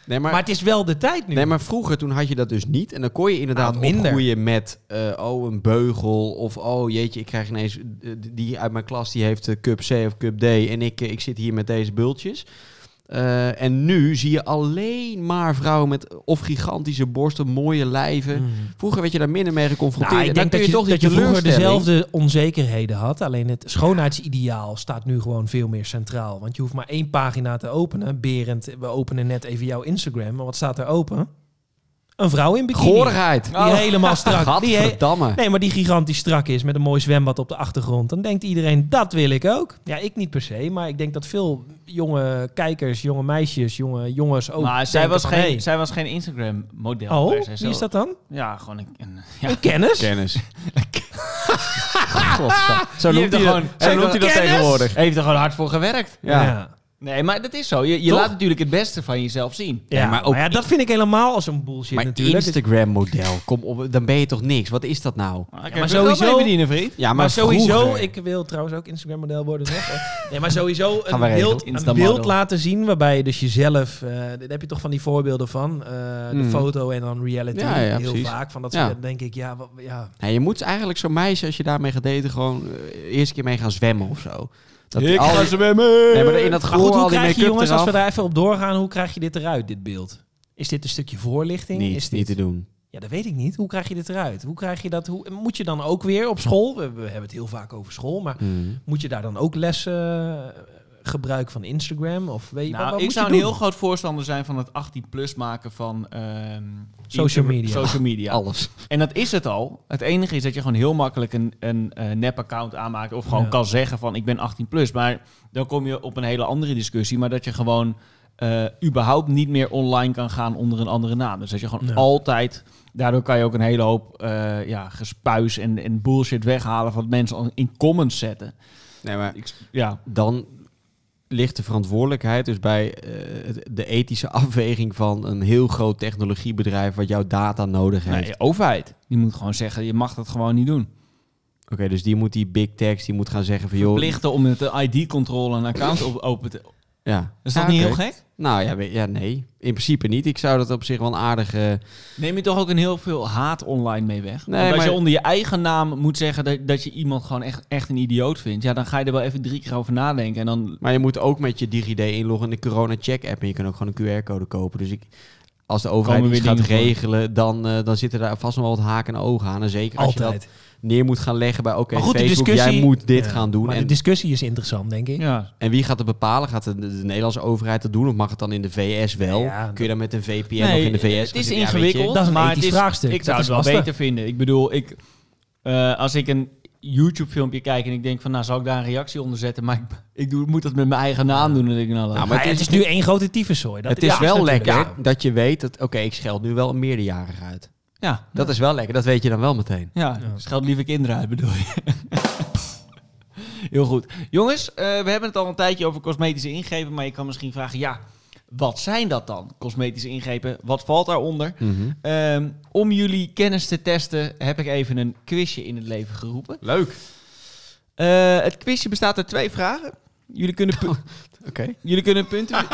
Nee, maar, Maar, het is wel de tijd nu. nee, maar vroeger toen had je dat dus niet. En dan kon je inderdaad Ah, minder. opgroeien met. eh, oh, een beugel. Of oh, jeetje, ik krijg ineens. eh, die uit mijn klas die heeft eh, cup C of cup D. En ik, eh, ik zit hier met deze bultjes. Eh, en nu zie je alleen maar vrouwen met eh, of gigantische borsten, mooie lijven. Mm. Vroeger werd je daar minder mee geconfronteerd. Nou, ik En dan denk dat kun je, toch dat je die vroeger teleurstelling- dezelfde onzekerheden had. Alleen het schoonheidsideaal staat nu gewoon veel meer centraal. Want je hoeft maar één pagina te openen. Berend, we openen net even jouw Instagram. Maar wat staat er open? Een vrouw in bikini. Gorigheid. Die helemaal strak. Die he- Gadverdamme. nee, maar die gigantisch strak is met een mooi zwembad op de achtergrond. Dan denkt iedereen, dat wil ik ook. Ja, ik niet per se. Maar ik denk dat veel jonge kijkers, jonge meisjes, jonge jongens ook maar zij denken was, Oh, van, geen, hey, zij was geen Instagram-model. Oh, per se. Zo- wie is dat dan? Ja, gewoon een... een- ja. Een kennis? Kennis. Godver- Zo Die noemt heeft er hij dat, gewoon- zo heeft noemt er- hij dat Kennis? tegenwoordig. Heeft er gewoon hard voor gewerkt. Ja. Ja. Nee, maar dat is zo. Je, je Toch? laat natuurlijk het beste van jezelf zien. Ja, Ja, maar maar, ook- ja, dat vind ik helemaal als een bullshit Maar natuurlijk. Instagram-model, kom op, dan ben je toch niks? Wat is dat nou? maar sowieso- verdienen, vriend. Ja, Ah, maar, maar sowieso, vroeger- ik wil trouwens ook Instagram-model worden. Nog. nee, maar sowieso een Gaan we regelen. beeld, een Instamodel. beeld laten zien waarbij je dus jezelf... eh daar heb je toch van die voorbeelden van. eh, de Mm. foto en dan reality. Ja, ja, heel precies. vaak. Van dat Ja. soort, dan denk ik, ja, wat, ja. Nee, je moet eigenlijk zo'n meisje, als je daarmee gaat daten, gewoon eh, eerst een keer mee gaan zwemmen of zo. Dat Ik al- ga zwemmen. Nee, maar in dat Maar goed, gehoor, hoe al die krijg je make-up jongens, als we eraf. daar even op doorgaan, hoe krijg je dit eruit, dit beeld? Is dit een stukje voorlichting? Niet, is dit... niet te doen. Ja, dat weet ik niet. Hoe krijg je dit eruit? Hoe krijg je dat? Hoe... Moet je dan ook weer op school? We, we hebben het heel vaak over school, maar Mm. moet je daar dan ook lessen eh, gebruik van Instagram? Of weet je, wat, Nou, wat ik moet zou je een doen? heel groot voorstander zijn van het 18-plus maken van... ehm, Social inter- media. Social media. Alles. En dat is het al. Het enige is dat je gewoon heel makkelijk een, een eh, nep-account aanmaakt. Of gewoon Ja. kan zeggen van ik ben 18 plus. Maar dan kom je op een hele andere discussie. Maar dat je gewoon eh, überhaupt niet meer online kan gaan onder een andere naam. Dus dat je gewoon Ja. altijd... Daardoor kan je ook een hele hoop eh, ja, gespuis en, en bullshit weghalen... van mensen al in comments zetten. Nee, maar Ik, ja. dan ligt de verantwoordelijkheid dus bij eh, het- de ethische afweging van een heel groot technologiebedrijf wat jouw data nodig heeft. Nee, overheid. Die moet gewoon zeggen, je mag dat gewoon niet doen. Oké, dus die moet die big techs, die moet gaan zeggen van joh... Verplichten om met de ID-controle een account op open te... Ja. Is dat Ja, niet Ah, oké. heel gek? Nou ja, we- ja, nee. In principe niet. Ik zou dat op zich wel een aardige... Neem je toch ook een heel veel haat online mee weg? Nee, Want als maar- je onder je eigen naam moet zeggen dat, dat je iemand gewoon echt, echt een idioot vindt... ja, dan ga je er wel even drie keer over nadenken en dan... Maar je moet ook met je DigiD inloggen in de Corona Check app. En je kan ook gewoon een QR-code kopen. Dus ik, als de overheid Komen iets weer gaat dingen voor. regelen, dan, eh, dan zitten daar vast nog wel wat haken en ogen aan. En zeker als je Altijd. dat neer moet gaan leggen bij... Oké, Maar goed, de Facebook, discussie- jij moet dit Ja, gaan doen. Maar En, de discussie is interessant, denk ik. Ja, en wie gaat het bepalen? Gaat de, de Nederlandse overheid dat doen? Of mag het dan in de VS wel? Ja, ja, Kun je dan met een VPN Nee, nog in de VS Het gaan is zitten? Ja, weet je. ingewikkeld, Dat is een maar ethisch het is- vraagstuk. Ik Dat zou is het wel lastig. beter vinden. Ik bedoel, ik, eh, als ik een YouTube-filmpje kijk en ik denk van... nou, zal ik daar een reactie onder zetten? Maar ik, ik doe, moet dat met mijn eigen naam doen. Dan denk ik, nou, laat Nou, Maar Maar het het is is nu één grote tyfuszooi. Dat het is ja, wel natuurlijk lekker zo. dat je weet dat... Oké, ik scheld nu wel een meerderjarig uit. Ja, Dat is wel lekker. Dat weet je dan wel meteen. ja. dus Ja. scheld lieve kinderen uit, bedoel je. Heel goed. Jongens, eh, we hebben het al een tijdje over cosmetische ingrepen, maar je kan misschien vragen, ja, wat zijn dat dan, cosmetische ingrepen? Wat valt daaronder? Mhm. Ehm, om jullie kennis te testen heb ik even een quizje in het leven geroepen. Leuk. Eh, het quizje bestaat uit twee vragen. Jullie kunnen, Oh. pu- Oké. jullie kunnen punten...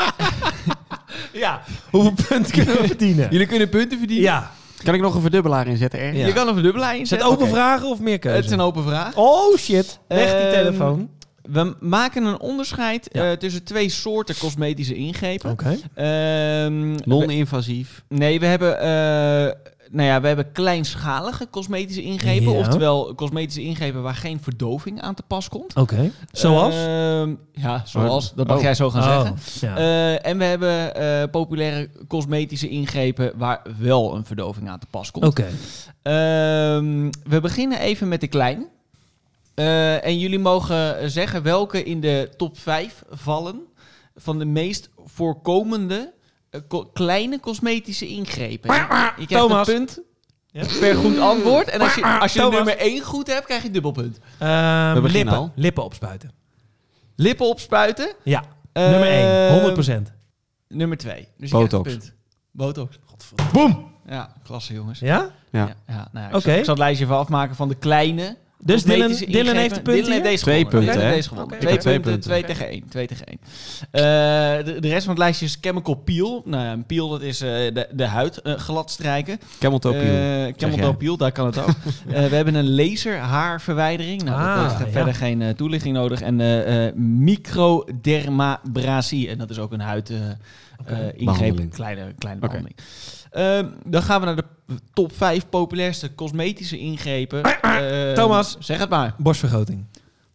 ja, Hoeveel punten kunnen we verdienen? jullie kunnen punten verdienen. Ja. Kan ik nog een verdubbelaar inzetten? ergens? Ja. Je kan een verdubbelaar Is het inzetten. open Oké. vragen of meer Het is keuze? een open vraag. Oh shit, leg die Eh, Ehm, telefoon. We maken een onderscheid Ja. eh, tussen twee soorten cosmetische ingrepen. Oké. Ehm, we- Non-invasief. nee, we hebben, eh, nou ja, we hebben kleinschalige cosmetische ingrepen. Ja. Oftewel cosmetische ingrepen waar geen verdoving aan te pas komt. Oké. Zoals? Eh, Ehm, ja, zoals. Dat mag Oh. jij zo gaan zeggen. ja. Eh, en we hebben eh, populaire cosmetische ingrepen waar wel een verdoving aan te pas komt. Oké. Ehm, we beginnen even met de kleine. Eh, en jullie mogen zeggen welke in de top 5 vallen van de meest voorkomende eh, co- kleine cosmetische ingrepen. Je, je krijgt Thomas. een punt Ja. per goed antwoord. En als je, als je Thomas. nummer 1 goed hebt, krijg je dubbelpunt. Ehm, We beginnen lippen. al. Lippen opspuiten. Lippen opspuiten. Ja. Eh, Nummer 1, 100 procent. Nummer 2. Dus je krijgt Botox. een punt. Botox. Boom! Ja, klasse jongens. Ja? Ja. Ja, ja, nou ja, ik, Oké. zal, ik zal het lijstje even afmaken van de kleine. Dus Dylan, cosmetische Dylan ingrepen. heeft een punt Dylan heeft hier? deze Twee gewonnen. punten, Dylan hè? heeft deze gewonnen. Oké. Twee, Ik heb twee punten, twee punten. tegen één. Twee tegen één. Eh, de, de rest van het lijstje is chemical peel. Nou ja, een peel dat is eh, de, de huid eh, glad strijken. Cameltopiel. Eh, chemical jij. peel, daar kan het ook. Eh, we hebben een laserhaarverwijdering. Nou, Ah, dat heeft ja. verder geen eh, toelichting nodig. En eh, eh, microdermabrasie. En dat is ook een huid... eh, eh, ingreep, Behandeling. kleine, kleine Oké. behandeling. Ehm, dan gaan we naar de top 5 populairste cosmetische ingrepen. Ehm, Thomas. Zeg het maar. Borstvergroting.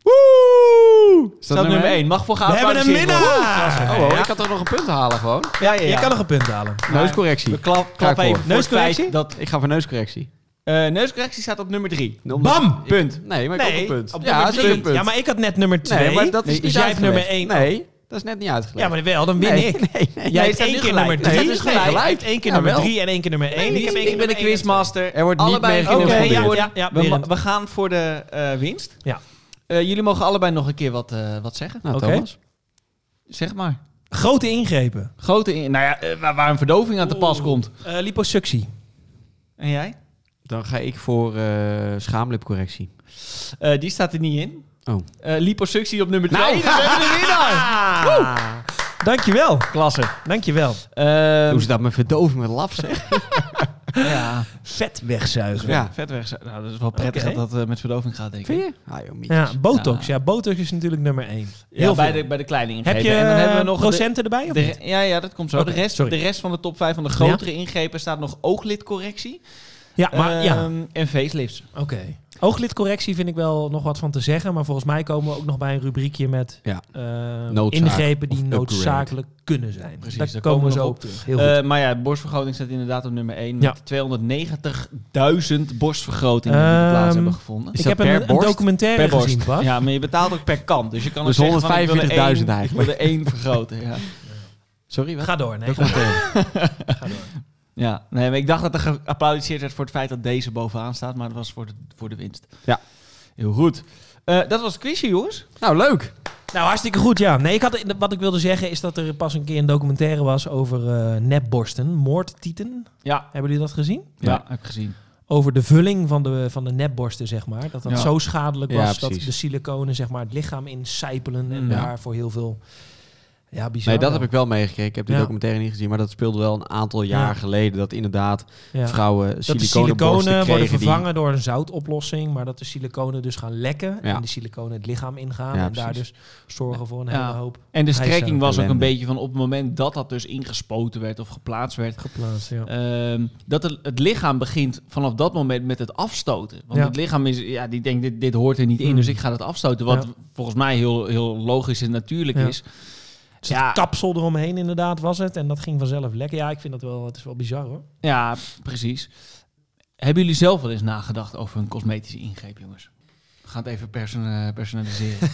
Woe! dat Staat nummer nummer 1. Mag voor gaan. Ah, We hebben een minnaar! Oh, oh, ik had er nog een punt halen gewoon. Ja, ja, ja. Je kan nog een punt halen. Neuscorrectie. We klap, Ga ik klap voor. even voor het Neuscorrectie? feit dat... Ik ga voor neuscorrectie. eh neuscorrectie staat op nummer 3. Bam! Punt. Nee, maar ik Nee, heb ook een punt. op Ja, nummer dat is ook drie. een punt. Ja, maar ik had net nummer 2. nee, maar dat is Nee, niet dus jij hebt nummer uitgelegd. één. Nee, dat is net niet uitgelegd. Ja, maar wel, dan win nee, ik. Nee, nee. Jij Nee, hebt staat één nu keer gelijk. nummer Nee, 3. het is gelijk. Jij hebt één keer Ja, nummer wel. 3 en één keer nummer 1. Nee, ik heb één ik keer ben de nummer één en twee. quizmaster. Er wordt niet allebei meer Oké, geïnformeerd. ja, ja, Ja, ja, we, Berend. we gaan voor de eh, winst. Ja. Eh, jullie mogen allebei nog een keer wat, eh, wat zeggen. Nou, Oké. Thomas. Zeg maar. Grote ingrepen. Grote, in- nou ja, eh, waar, waar een verdoving aan te pas Oeh. komt. Eh, liposuctie. En jij? Dan ga ik voor eh, schaamlipcorrectie. Ehm. Eh, die staat er niet in. Oh. Eh, liposuctie op nummer 2. Nou. Dus we hebben een winnaar. Dankjewel. Klasse. Dankjewel. Ehm, Hoe ze dat met verdoving met laf zeg. ja, Vet wegzuigen. Ja. vet weg. Nou, dat is wel prettig Oké. dat dat eh, met verdoving gaat, denk ik. je? Ah, joh, mietjes. Ja, botox. Ja, botox is natuurlijk nummer één. Heel Ja, bij veel. de, bij de kleine ingrepen. Heb je en dan hebben we eh, nog de- procenten erbij? Of de, niet? ja, ja, dat komt zo. Oké, de, rest, sorry. de rest van de top 5 van de grotere ingrepen staat nog ooglidcorrectie. Ja, maar ja. Ehm, En facelifts. Oké. Ooglidcorrectie vind ik wel nog wat van te zeggen. Maar volgens mij komen we ook nog bij een rubriekje met Ja. eh, Noodzaak ingrepen die of upgrade. noodzakelijk kunnen zijn. Precies, daar, komen we zo nog op op. terug. Heel Eh, goed. maar ja, borstvergroting staat inderdaad op nummer 1. Ja. Met 290.000 borstvergrotingen die die Ehm, plaats hebben gevonden. ik dat heb per een, een borst? documentaire Per borst. gezien, Bas. Ja, maar je betaalt ook per kant. Dus je kan ook Dus zeggen van, ik wil er 145.000 één- eigenlijk. Ik wil er één vergroten, ja. Sorry, wat? Ga door. Nee, ga, Documentaire. ga door. Ja, nee, maar ik dacht dat er geapplaudisseerd werd voor het feit dat deze bovenaan staat. Maar dat was voor de, voor de winst. Ja. Heel goed. Eh, dat was het quizje, jongens. nou, leuk. Nou, hartstikke goed, ja. Nee, ik had, wat ik wilde zeggen is dat er pas een keer een documentaire was over eh nepborsten. Moordtieten. Ja. Hebben jullie dat gezien? Ja, Ja. heb ik gezien. over de vulling van de, van de nepborsten, zeg maar. Dat dat Ja. zo schadelijk Ja, was dat precies. Mm, de siliconen zeg maar, het lichaam incijpelen en Ja. daarvoor heel veel... Ja, bizar. Nee, dat wel. heb ik wel meegekregen. Ik heb die Ja. documentaire niet gezien, maar dat speelde wel een aantal jaar Ja. geleden. Dat inderdaad Ja. vrouwen Dat de siliconenborsten siliconen worden kregen die- vervangen door een zoutoplossing, maar dat de siliconen dus gaan lekken Ja. en de siliconen het lichaam ingaan Ja, en daar precies. dus zorgen voor een Ja. hele hoop En de Hij is strekking ook was ook een ellende. beetje van op het moment dat dat dus ingespoten werd of geplaatst werd. geplaatst. Eh, Ja. ehm, dat het, het lichaam begint vanaf dat moment met het afstoten. Want Ja. het lichaam is, ja, die denkt, dit, dit hoort er niet in, Mm. dus ik ga dat afstoten. Wat Ja. volgens mij heel, heel logisch en natuurlijk Ja. is. Dus het ja. kapsel eromheen inderdaad was het en dat ging vanzelf lekken. Ja, ik vind dat wel, het is wel bizar hoor. Ja, precies. Hebben jullie zelf wel eens nagedacht over een cosmetische ingreep, jongens? We gaan het even perso- eh, personaliseren.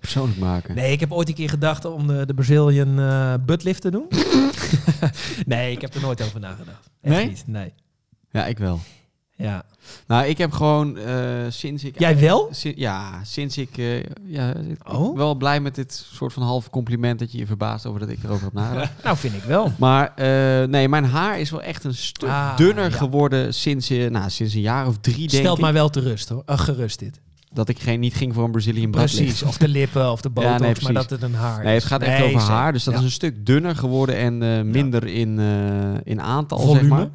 persoonlijk maken. Nee, ik heb ooit een keer gedacht om de, de Brazilian eh buttlift te doen. nee, ik heb er nooit over nagedacht. Echt Nee? Niet. Nee. Ja, ik wel. Ja. Nou, ik heb gewoon eh, sinds ik... Jij wel? si- ja, sinds ik... eh, ja, ik- Oh? Wel blij met dit soort van half compliment dat je je verbaast over dat ik erover heb nagedacht. Nou, vind ik wel. Maar eh, nee, mijn haar is wel echt een stuk Ah, dunner ja. geworden sinds, eh, nou, sinds een jaar of drie, denk Stelt ik. mij wel te rust hoor. Eh, gerust dit. Dat ik geen, niet ging voor een Brazilian braadlift. Precies. Of de lippen of de botox, nee, maar precies. dat het een haar is. Nee, het gaat echt Nee, over zeker. haar. Dus dat Ja. is een stuk dunner geworden en eh, minder in, eh, in aantal, zeg Volume. maar.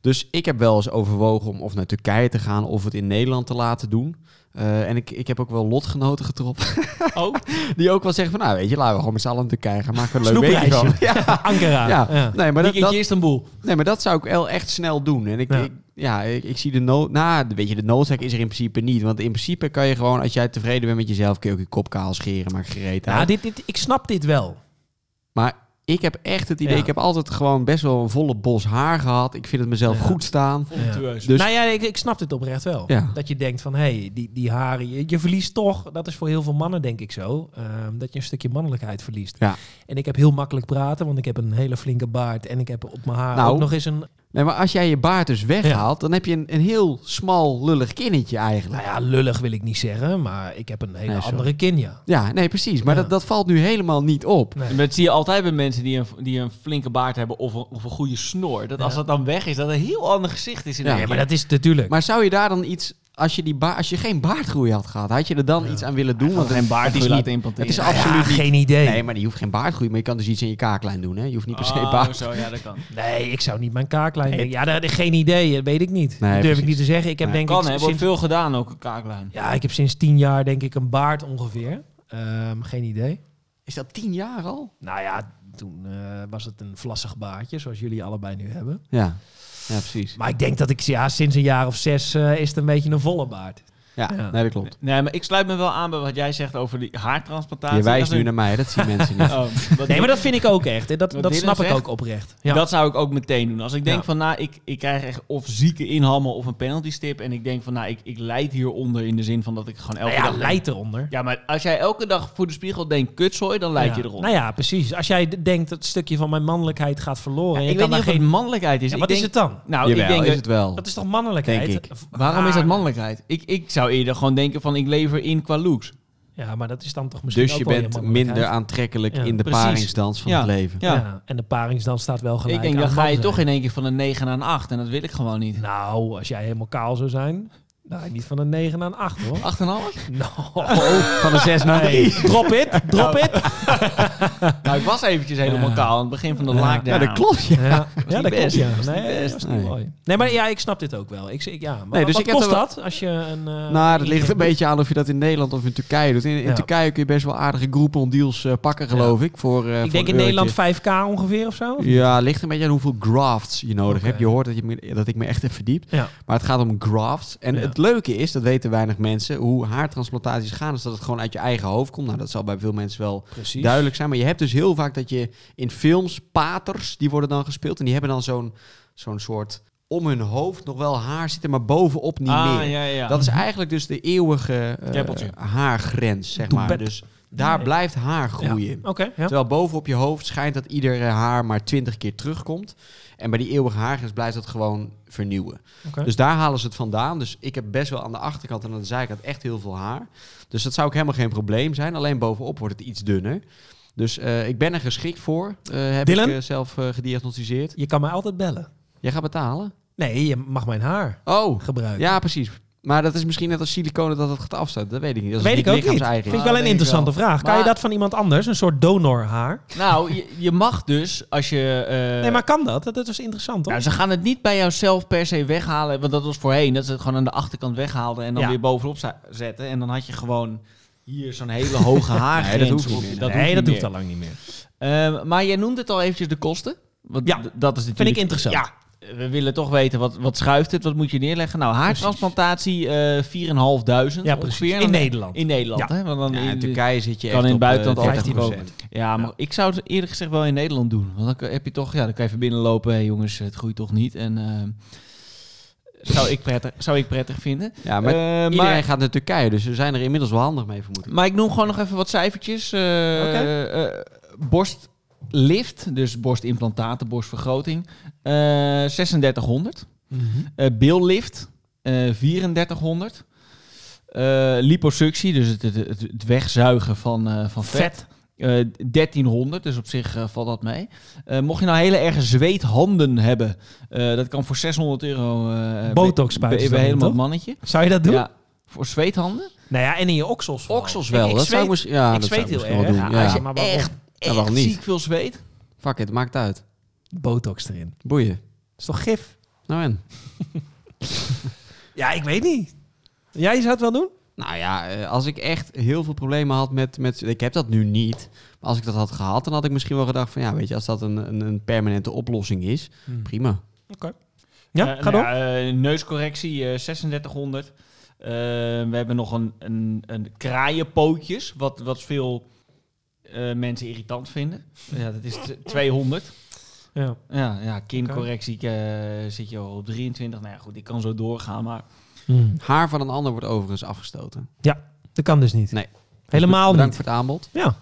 Dus ik heb wel eens overwogen om of naar Turkije te gaan of het in Nederland te laten doen. Eh, en ik, ik heb ook wel lotgenoten getroffen. Oh. Die ook wel zeggen van, nou weet je, laten we gewoon met z'n allen naar Turkije gaan. Maken we een leuk weekje Snoepreisje. van. Ja. Ankara. Ja. Ja. Nee, maar dat, Weekendje dat, Istanbul. nee, maar dat zou ik wel echt snel doen. En ik, Ja. ja. ik, ja, ik, ik zie de nood... Nou, weet je, de noodzaak is er in principe niet. Want in principe kan je gewoon, als jij tevreden bent met jezelf... kun je ook je kop kaal scheren, maar gereed Nou, dit, dit, ik snap dit wel. Maar ik heb echt het idee, Ja. ik heb altijd gewoon best wel een volle bos haar gehad. Ik vind het mezelf Ja. goed staan. Voluptueus. Dus nou ja, ik, ik snap dit oprecht wel. Ja. Dat je denkt van, hé, hey, die, die haren, je, je verliest toch, dat is voor heel veel mannen denk ik zo, ehm, dat je een stukje mannelijkheid verliest. Ja. En ik heb heel makkelijk praten, want ik heb een hele flinke baard en ik heb op mijn haar Nou. ook nog eens een, nee, maar als jij je baard dus weghaalt, dan heb je een, een heel smal, lullig kinnetje nou eigenlijk. ja, lullig wil ik niet zeggen, maar ik heb een hele Nee, sorry. andere kin, ja. Ja, nee, precies. Maar Ja. dat, dat valt nu helemaal niet op. Nee. Maar Dus, dat zie je altijd bij mensen die een, die een flinke baard hebben of een, of een goede snor. Dat als Ja. dat dan weg is, dat een heel ander gezicht is. In Ja, één Ja, keer. maar dat is natuurlijk. Maar zou je daar dan iets, als je, die baar, als je geen baardgroei had gehad, had je er dan iets aan willen doen? Want geen het- baard het is is laten niet, implanteren. het is Nou ja, absoluut niet. geen idee. Nee, maar je hoeft geen baardgroei, maar je kan dus iets in je kaaklijn doen. Hè? Je hoeft niet per se Oh, baard. zo, ja, dat kan. Nee, ik zou niet mijn kaaklijn... Nee. Ja, dat, geen idee, dat weet ik niet. dat durf ik precies. niet te zeggen. Ik heb Nee. denk Kan, ik... hè? sinds- Wordt veel gedaan ook, een kaaklijn. Ja, ik heb sinds tien jaar denk ik een baard ongeveer. Ehm, geen idee. Is dat tien jaar al? Nou ja, toen eh, was het een vlassig baardje, zoals jullie allebei nu hebben. Ja, ja precies. Maar ik denk dat ik ja, sinds een jaar of zes eh, is het een beetje een volle baard. Ja, Ja. Nee, dat klopt. Nee, maar ik sluit me wel aan bij wat jij zegt over die haartransplantatie. Je wijst Dat nu is naar mij, dat zien mensen niet. een- Oh, wat- Nee, maar dat vind ik ook echt. hè. Dat, Wat dat Dylan snap ik zegt, ook oprecht. Ja. Dat zou ik ook meteen doen. Als ik denk Ja. van, nou, ik, ik krijg echt of zieke inhammen of een penalty stip. En ik denk van, nou, ik, ik leid hieronder in de zin van dat ik gewoon elke nou ja, dag... leidt eronder. Ja, maar als jij elke dag voor de spiegel denkt kutzooi, dan leid Ja. je eronder. Nou ja, precies. Als jij d- denkt dat het stukje van mijn mannelijkheid gaat verloren. Ja, en ik je weet kan niet of daar het geen... mannelijkheid is. Ja, Ik wat is denk- het dan? Nou, Jawel, ik denk is dat- het wel. Dat is Ah. toch mannelijkheid? Denk ik. V- Waarom is dat haar- mannelijkheid? Ik, ik zou eerder gewoon denken van, ik lever in qua looks. Ja, maar dat is dan toch misschien Dus ook je wel bent makkelijkheid. minder aantrekkelijk Ja, in de precies. paringsdans van Ja. het leven. Ja. Ja. en de paringsdans staat wel gelijk ik denk, dan aan ga je man toch zijn. in één keer van een 9 naar een 8. En dat wil ik gewoon niet. 8,5? Nou, als jij helemaal kaal zou zijn, dan ga je niet van een 9 naar een 8 hoor. Oh, van een 6 naar Nee, drop it, drop it. Nou, ik was eventjes helemaal Ja. kaal aan het begin van de Ja. laag. Ja, dat klopt. Ja. Ja, ja, dat niet klopt best. ja. Dat is niet Nee, best. dat is niet Nee. mooi. Nee, maar ja, ik snap dit ook wel. Ik, zeg- ja, maar Nee, dus wat ik heb kost er wel- dat als je een... eh, Nou, dat ligt ingreep een beetje aan of je dat in Nederland of in Turkije doet. In, in Ja. Turkije kun je best wel adige groepen deals eh, pakken, geloof ik. Voor, eh, voor Ik denk een in Nederland eurotje. 5k ongeveer of zo. Ja, ligt een beetje aan hoeveel grafts je nodig Oké. hebt. Je hoort dat, je, me- dat ik me echt heb verdiept. Ja. Maar het gaat om grafts. En Ja. het leuke is, dat weten weinig mensen, hoe haartransplantaties gaan, is dat het gewoon uit je eigen hoofd komt. Nou, dat zal bij veel mensen wel Precies. duidelijk zijn. Maar je hebt dus heel vaak dat je in films paters, die worden dan gespeeld. En die hebben dan zo'n zo'n soort om hun hoofd nog wel haar zitten, maar bovenop niet ah, meer. ja, ja. Dat is eigenlijk dus de eeuwige eh, Keppeltje. haargrens, zeg Doe maar. pet. Dus daar Nee. blijft haar groeien. Oké, ja. Terwijl bovenop je hoofd schijnt dat iedere haar maar twintig keer terugkomt. En bij die eeuwige haargrens blijft dat gewoon vernieuwen. Oké. Dus daar halen ze het vandaan. Dus ik heb best wel aan de achterkant en aan de zijkant echt heel veel haar. Dus dat zou ook helemaal geen probleem zijn. Alleen bovenop wordt het iets dunner. Dus eh, ik ben er geschikt voor, eh, heb Dylan? ik eh, zelf eh, gediagnosticeerd. Je kan mij altijd bellen. Jij gaat betalen? Nee, je mag mijn haar Oh, gebruiken. ja precies. Maar dat is misschien net als siliconen dat het gaat afstaan. Dat weet ik niet. Dat is Weet niet ik ook niet. lichaams-eigen. Vind ik Ah, wel denk een ik interessante vraag. Kan je Maar- dat van iemand anders, een soort donorhaar? Nou, je, je mag dus als je... eh, Nee, maar kan dat? Dat dat is interessant, toch? nou, ze gaan het niet bij jouzelf per se weghalen. Want dat was voorheen. Dat ze het gewoon aan de achterkant weghaalden. En dan Ja. weer bovenop za- zetten. En dan had je gewoon hier zo'n hele hoge haargrens. Nee, dat hoeft niet op- meer. nee, dat niet doet meer. al lang niet meer. Ehm, maar jij noemt het al eventjes de kosten. Want Ja, d- dat is natuurlijk... vind ik interessant. Ja, we willen toch weten, wat, wat schuift het? Wat moet je neerleggen? Nou, haartransplantatie eh 4.500 Ja, ongeveer. precies. Dan- In Nederland. In Nederland, hè? Want dan Ja, in in- Turkije zit je kan echt in op, eh, buitenland altijd 30%. komen. Ja, maar ik zou het eerlijk gezegd wel in Nederland doen. Want dan heb je toch... Ja, dan kan je even binnenlopen. Hé jongens, het groeit toch niet. En... ehm, zou ik, prettig, zou ik prettig vinden. Ja, maar Eh, Iedereen maar, gaat naar Turkije, dus we zijn er inmiddels wel handig mee, vermoed ik. maar ik noem gewoon nog even wat cijfertjes. Eh Oké. eh, borstlift, dus borstimplantaten, borstvergroting. eh, 3600. Mhm. Eh, billift, eh 3400. Eh, liposuctie, dus het, het, het- het wegzuigen van, eh, van vet. Vet. Eh, 1300, dus op zich eh, valt dat mee. Eh, mocht je nou hele erge zweethanden hebben, eh, dat kan voor 600 euro. eh, Botox bij- spuiten ze bij dan in, helemaal toch? mannetje. Zou je dat doen? Ja, voor zweethanden. Nou ja, en in je oksels. vooral. Oksels Ik- wel. Ik, dat zou zweet, ik moest, ja, ik Ah, dat zweet zou heel ik misschien erg. wel doen. Ja, Ja, als je Maar waarom? echt, Ja, waarom echt niet? ziek veel zweet. Fuck it, maakt uit. botox erin. Boeien. is toch gif? Nou en? Ja, ik weet niet. Jij zou het wel doen? Nou ja, eh, als ik echt heel veel problemen had met, met... Ik heb dat nu niet. Maar als ik dat had gehad, dan had ik misschien wel gedacht van... Ja, weet je, als dat een, een, een permanente oplossing is, prima. Ja, Eh, ga nou door. ja, eh, neuscorrectie, eh, 3600. Eh, we hebben nog een, een, een kraaienpootjes, wat, wat veel eh, mensen irritant vinden. Ja, dat is t- 200. Ja. Ja, ja kincorrectie eh, zit je al op 23. Nou ja, goed, ik kan zo doorgaan, maar... Haar van een ander wordt overigens afgestoten. Dat kan dus niet. Nee. Helemaal Bedankt niet. voor het aanbod. Ja.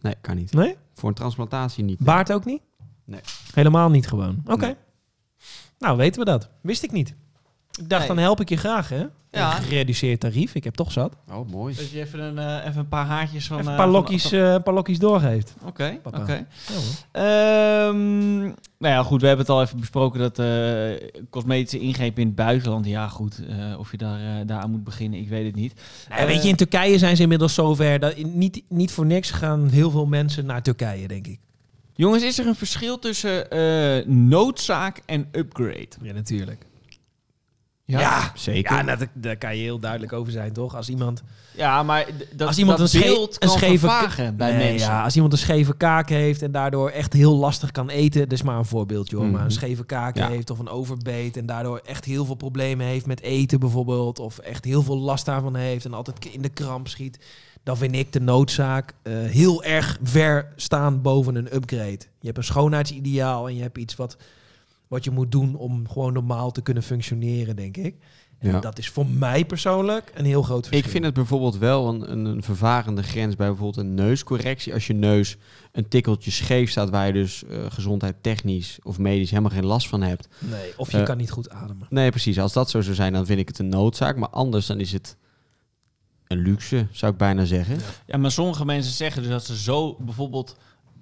Nee, kan niet. Nee? Voor een transplantatie niet. Baard ook niet? Nee. Helemaal niet gewoon. Oké. Nee. Nou, weten we dat. Wist ik niet. Ik dacht, Nee. dan help ik je graag, hè? Ja. Een Gereduceerd tarief. Ik heb toch zat. Oh, mooi. Dat je even een, eh, even een paar haartjes van... Even een eh, paar van- lokjes, van- eh, een paar lokjes doorgeeft. Oké, oké. Papa. Ja, hoor. Ehm, nou ja, goed, we hebben het al even besproken dat eh, cosmetische ingrepen in het buitenland. Ja, goed, eh, of je daar, eh, daar aan moet beginnen, ik weet het niet. Eh, Nou, weet je, in Turkije zijn ze inmiddels zover. Dat, in- niet, niet voor niks gaan heel veel mensen naar Turkije, denk ik. Jongens, is er een verschil tussen eh, noodzaak en upgrade? Ja, natuurlijk. Ja, Ja. ja, Zeker. dat, daar kan je heel duidelijk over zijn, toch? Als iemand, Ja, maar d- dat, Als iemand dat een schee- beeld kan een scheve ka- vervagen bij Nee, mensen. Ja, als iemand een scheve kaak heeft en daardoor echt heel lastig kan eten. Dat is maar een voorbeeldje hoor. Maar een Mhm. scheve kaak Ja. heeft of een overbeet. En daardoor echt heel veel problemen heeft met eten bijvoorbeeld. Of echt heel veel last daarvan heeft. En altijd in de kramp schiet. Dan vind ik de noodzaak eh, heel erg ver staan boven een upgrade. Je hebt een schoonheidsideaal en je hebt iets wat, wat je moet doen om gewoon normaal te kunnen functioneren, denk ik. En Ja. dat is voor mij persoonlijk een heel groot verschil. Ik vind het bijvoorbeeld wel een, een, een vervarende grens bij bijvoorbeeld een neuscorrectie. Als je neus een tikkeltje scheef staat, waar je dus eh, gezondheid technisch of medisch helemaal geen last van hebt. Nee, of je Eh, kan niet goed ademen. Nee, precies. Als dat zo zou zijn, dan vind ik het een noodzaak. Maar anders dan is het een luxe, zou ik bijna zeggen. Ja, maar sommige mensen zeggen dus dat ze zo bijvoorbeeld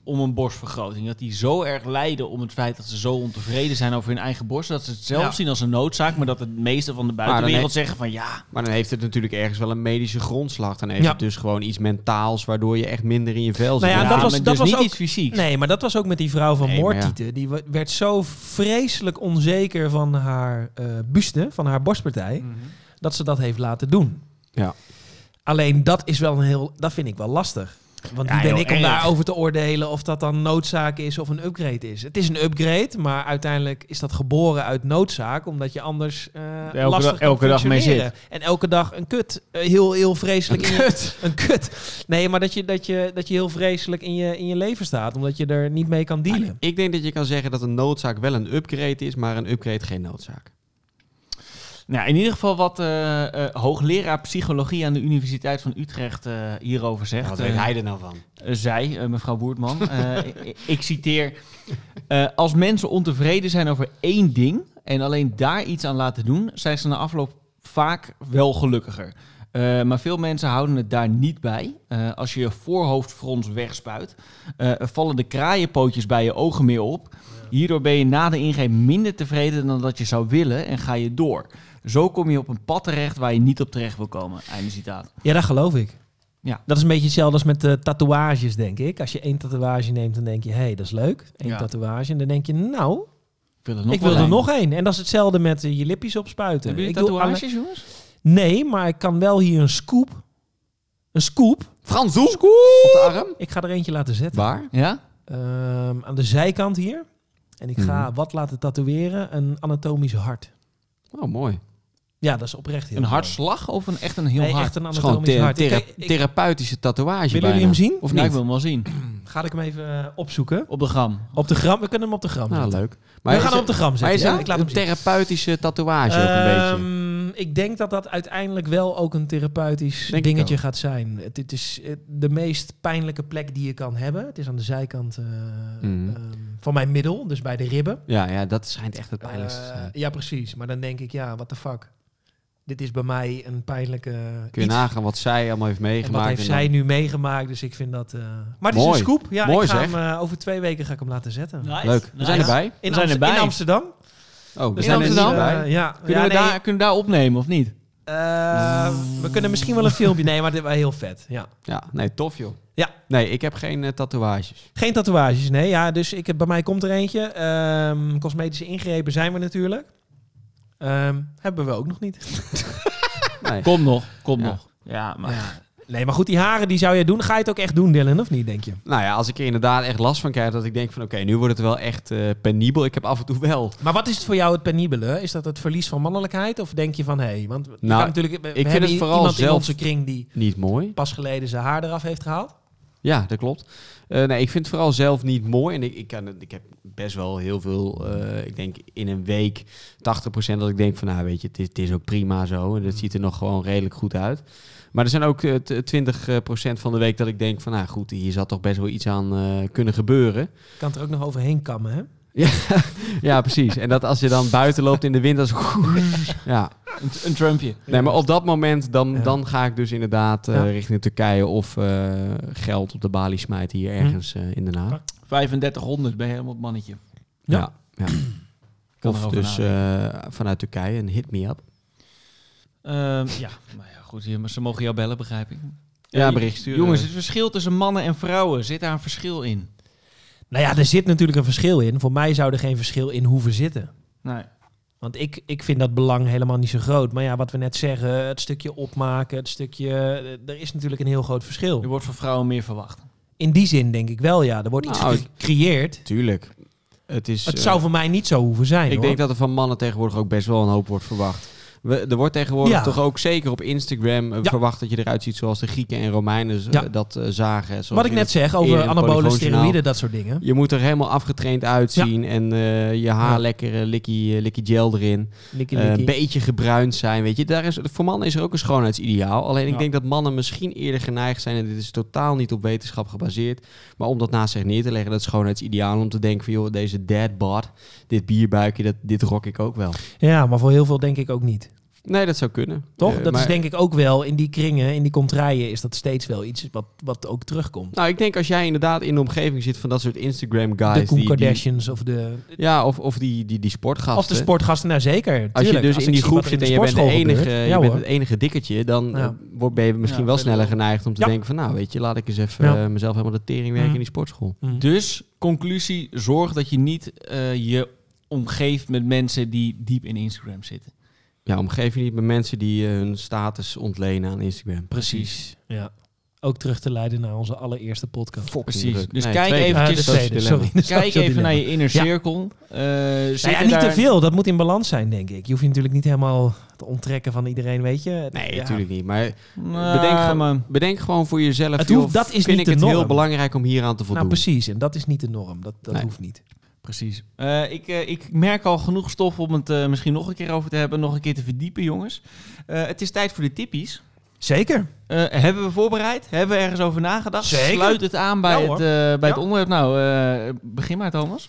om een borstvergroting, dat die zo erg lijden om het feit dat ze zo ontevreden zijn over hun eigen borst, dat ze het zelf Ja. zien als een noodzaak, maar dat het meeste van de dan buitenwereld heeft- zeggen van ja, Maar dan heeft het natuurlijk ergens wel een medische grondslag. Dan heeft Ja. het dus gewoon iets mentaals, waardoor je echt minder in je vel zit. Nou ja, ja, dat was- maar dat dus was niet ook- iets fysiek. Nee, maar dat was ook met die vrouw van Nee, maar ja. Moortieten. Die wa- werd zo vreselijk onzeker van haar eh, buste, van haar borstpartij, Mhm. dat ze dat heeft laten doen. Ja. Alleen dat is wel een heel, dat vind ik wel lastig. Want Ja, wie ben heel ik om erg. daarover te oordelen of dat dan noodzaak is of een upgrade is? Het is een upgrade, maar uiteindelijk is dat geboren uit noodzaak, omdat je anders eh Elke lastig dag- kan elke dag mee functioneren. En elke dag een kut, eh, heel, heel vreselijk in je- een kut. Nee, maar dat je, dat je, dat je heel vreselijk in je, in je leven staat. Omdat je er niet mee kan Maar dealen. Ik denk dat je kan zeggen dat een noodzaak wel een upgrade is, maar een upgrade geen noodzaak. Nou, in ieder geval wat eh, eh, hoogleraar psychologie aan de Universiteit van Utrecht eh, hierover zegt. Wat weet Eh, hij er nou van? Eh, zij, eh, mevrouw Boertman. Eh, ik, ik citeer. eh, als mensen ontevreden zijn over één ding en alleen daar iets aan laten doen, zijn ze na afloop vaak wel gelukkiger. Eh, maar veel mensen houden het daar niet bij. Eh, als je je voorhoofdfrons wegspuit, eh, vallen de kraaienpootjes bij je ogen meer op. Hierdoor ben je na de ingreep minder tevreden dan dat je zou willen en ga je door. Zo kom je op een pad terecht waar je niet op terecht wil komen. Einde citaat. Ja, dat geloof ik. Ja. Dat is een beetje hetzelfde als met eh, tatoeages, denk ik. Als je één tatoeage neemt, dan denk je... hé, hey, dat is leuk. Eén Ja. tatoeage. En dan denk je, nou, Ik wil er nog ik wil wel er een. nog één. En dat is hetzelfde met eh, je lipjes opspuiten. Hebben ik jullie doe tatoeages, jongens? alle- Nee, maar ik kan wel hier een scoop... Een scoop. Frans Doel op de arm. Ik ga er eentje laten zetten. Waar? Ja? Ehm, aan de zijkant hier. En ik ga wat laten tatoeëren. Een anatomisch hart. Oh, mooi. Ja, dat is oprecht heel Een mooi. hartslag of een, echt een heel Nee, hard? echt een Het is gewoon anatomisch thera- hart. Ik- thera- ik- ik- therapeutische tatoeage willen jullie bijna. hem zien? Of Nou, ik niet? wil hem wel zien. Ga ik hem even eh, opzoeken. Op de gram. Op de gram. We kunnen hem op de gram Nou, zetten. leuk. we gaan is- hem op de gram Maar zetten. is Ja? een, Ik laat hem een zien. therapeutische tatoeage ook een beetje? Ehm, ik denk dat dat uiteindelijk wel ook een therapeutisch Denk ik dingetje ook. gaat zijn. Het, het is eh, de meest pijnlijke plek die je kan hebben. Het is aan de zijkant eh, Mhm. ehm, van mijn middel, dus bij de ribben. Ja, ja, dat schijnt echt het pijnlijkste te Eh, zijn. ja, precies. Maar dan denk ik, ja, what the fuck. Dit is bij mij een pijnlijke. Kun je iets. nagaan wat zij allemaal heeft En meegemaakt. wat heeft en dan- zij nu meegemaakt? Dus ik vind dat. eh, Maar het is Mooi. een scoop. Ja, Mooi, ik ga hem, eh, over twee weken ga ik hem laten zetten. Leuk. We zijn erbij. In, We zijn Amst- erbij. in Amsterdam. Oh, we Dus zijn dat er is, niet eh, bij. ja, Kunnen, Ja, we nee, daar, kunnen we daar opnemen of niet? eh, we kunnen misschien wel een filmpje nemen, maar dit was heel vet. Ja. Ja, nee, tof joh. Ja. Nee, ik heb geen eh, tatoeages. Geen tatoeages, nee. Ja, dus ik, bij mij komt er eentje. Ehm, cosmetische ingrepen zijn we natuurlijk. Ehm, hebben we ook nog niet. Nee. Kom nog, kom Ja. nog. Ja, maar Nee, maar goed, die haren die zou je doen. Ga je het ook echt doen, Dylan, of niet, denk je? Nou ja, als ik er inderdaad echt last van krijg, dat ik denk van oké, nu wordt het wel echt eh, penibel. Ik heb af en toe wel. Maar wat is het voor jou het penibele? Is dat het verlies van mannelijkheid? Of denk je van, hé, want we, Nou, kan natuurlijk, we- we vind hebben het i- vooral iemand in zelf- onze kring die Niet mooi. pas geleden zijn haar eraf heeft gehaald. Ja, dat klopt. Eh, nee, ik vind het vooral zelf niet mooi. En ik, ik, kan, het- ik heb best wel heel veel, eh, ik denk in een week 80% dat ik denk van nou weet je, het is, het is ook prima zo. En dat Mm. ziet er nog gewoon redelijk goed uit. Maar er zijn ook eh, t- 20% van de week dat ik denk van nou goed, hier zat toch best wel iets aan eh, kunnen gebeuren. Kan er ook nog overheen kammen, hè? Ja, precies. En dat als je dan buiten loopt in de wind, als ja. een, een Trumpje. Nee, maar op dat moment dan, Ja. dan ga ik dus inderdaad eh, Ja. richting Turkije of eh, geld op de balie smijten Hm. hier ergens eh, in Den Haag. 3500 ben je helemaal het mannetje. Ja. Ja. ja. Kan of erover dus eh, vanuit Turkije een hit me up. Ehm, ja, maar ja, goed. hier, maar Ze mogen jou bellen, begrijp ik. Ja, Eh, bericht sturen. Jongens, het verschil tussen mannen en vrouwen. Zit daar een verschil in? Nou ja, er zit natuurlijk een verschil in. Voor mij zou er geen verschil in hoeven zitten. Nee. Want ik, ik vind dat belang helemaal niet zo groot. Maar ja, wat we net zeggen, het stukje opmaken, het stukje... eh, Er is natuurlijk een heel groot verschil. Er wordt van vrouwen meer verwacht. In die zin denk ik wel, ja. Er wordt Nou, iets gecreëerd. Tuurlijk. Het, is, Het eh, zou voor mij niet zo hoeven zijn, ik hoor. denk dat er van mannen tegenwoordig ook best wel een hoop wordt verwacht. We, er wordt tegenwoordig Ja. toch ook zeker op Instagram eh, Ja. verwacht dat je eruit ziet zoals de Grieken en Romeinen eh, Ja. dat eh, zagen. Zoals Wat ik in net het- zeg in over het anabole Polygoonjournaal. steroïden, dat soort dingen. Je moet er helemaal afgetraind uitzien en eh, je haar Ja. lekker eh, likkie, eh, likkie gel erin. Likkie, Eh, een likkie. beetje gebruind zijn, weet je. Daar is, voor mannen is er ook een schoonheidsideaal. Alleen ik Ja. denk dat mannen misschien eerder geneigd zijn, en dit is totaal niet op wetenschap gebaseerd, maar om dat naast zich neer te leggen, dat schoonheidsideaal, om te denken van joh, deze dad bod, dit bierbuikje, dat, dit rok ik ook wel. Ja, maar voor heel veel denk ik ook niet. Nee, dat zou kunnen. Toch? Eh, dat maar- is denk ik ook wel, in die kringen, in die contraien, is dat steeds wel iets wat, wat ook terugkomt. Nou, ik denk als jij inderdaad in de omgeving zit van dat soort Instagram de guys. Koen die- die, Kardashians of de, ja, of, of die, die, die sportgasten. of de sportgasten. Nou zeker, Als je tuurlijk. dus in ik die zie groep wat er in zit en je bent, de sportschool enige, gebeurt. je Ja, bent hoor. het enige dikkertje, dan Ja. eh, word, ben je misschien Ja, wel ben je sneller wel. geneigd om te Ja. denken van nou weet je, laat ik eens even Ja. eh, mezelf helemaal de tering werken Mhm. in die sportschool. Hm. Dus, conclusie, zorg dat je niet eh, je omgeeft met mensen die diep in Instagram zitten. Ja, omgeef je niet met mensen die eh, hun status ontlenen aan Instagram. Precies. Ja. Ook terug te leiden naar onze allereerste podcast. Fucking Precies. druk. Dus Nee, kijk twee- eventjes- Eh, de dat is het tweede, dilemma. sorry. De Kijk social even dilemma. naar je inner Ja. cirkel. Eh, Nou ja, zitten niet daar- te veel. Dat moet in balans zijn, denk ik. Je hoeft je natuurlijk niet helemaal te onttrekken van iedereen, weet je. Het- Nee, ja. natuurlijk niet. Maar Nou, Bedenk gewoon- maar- bedenk gewoon voor jezelf. Het joh, hoeft- dat is vind niet ik de het heel norm. belangrijk om hieraan te voldoen. Nou, precies. En dat is niet de norm. Dat, dat Nee. hoeft niet. Precies. Eh, ik, eh, ik merk al genoeg stof om het eh, misschien nog een keer over te hebben, nog een keer te verdiepen, jongens. Eh, het is tijd voor de tippies. Zeker. Eh, hebben we voorbereid? Hebben we ergens over nagedacht? Zeker. Sluit het aan bij, Ja, het, hoor. eh, bij Ja. het onderwerp. Nou, eh, begin maar, Thomas.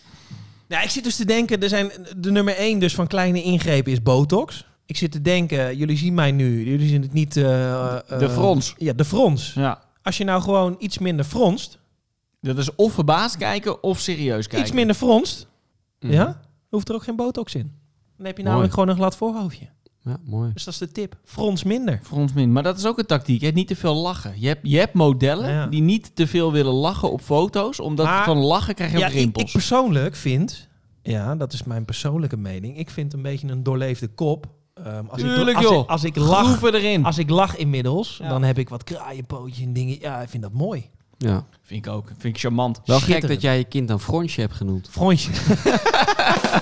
Nou, ik zit dus te denken, er zijn de nummer één dus van kleine ingrepen is botox. Ik zit te denken, jullie zien mij nu, jullie zien het niet... eh, eh, De frons. Ja, de frons. Ja. Als je nou gewoon iets minder fronst, Dat is of verbaasd kijken of serieus kijken. iets minder fronst, Mhm. ja, hoeft er ook geen botox in. Dan heb je Mooi. namelijk gewoon een glad voorhoofdje. Ja, mooi. Dus dat is de tip. Frons minder. Voor ons minder. Maar dat is ook een tactiek, hè? niet te veel lachen. Je hebt, je hebt modellen Ja. die niet te veel willen lachen op foto's, omdat Maar- van lachen krijg je Ja, ook ik, rimpels. ik persoonlijk vind, ja, dat is mijn persoonlijke mening, ik vind een beetje een doorleefde kop. ehm, als, Tuurlijk, ik, als, joh. ik, als ik lach, Groeven erin. als ik lach inmiddels, Ja. dan heb ik wat kraaienpootje en dingen. Ja, ik vind dat mooi. Ja. Vind ik ook. Vind ik charmant. Wel gek Schitterend. dat jij je kind dan Fronsje hebt genoemd. Fronsje.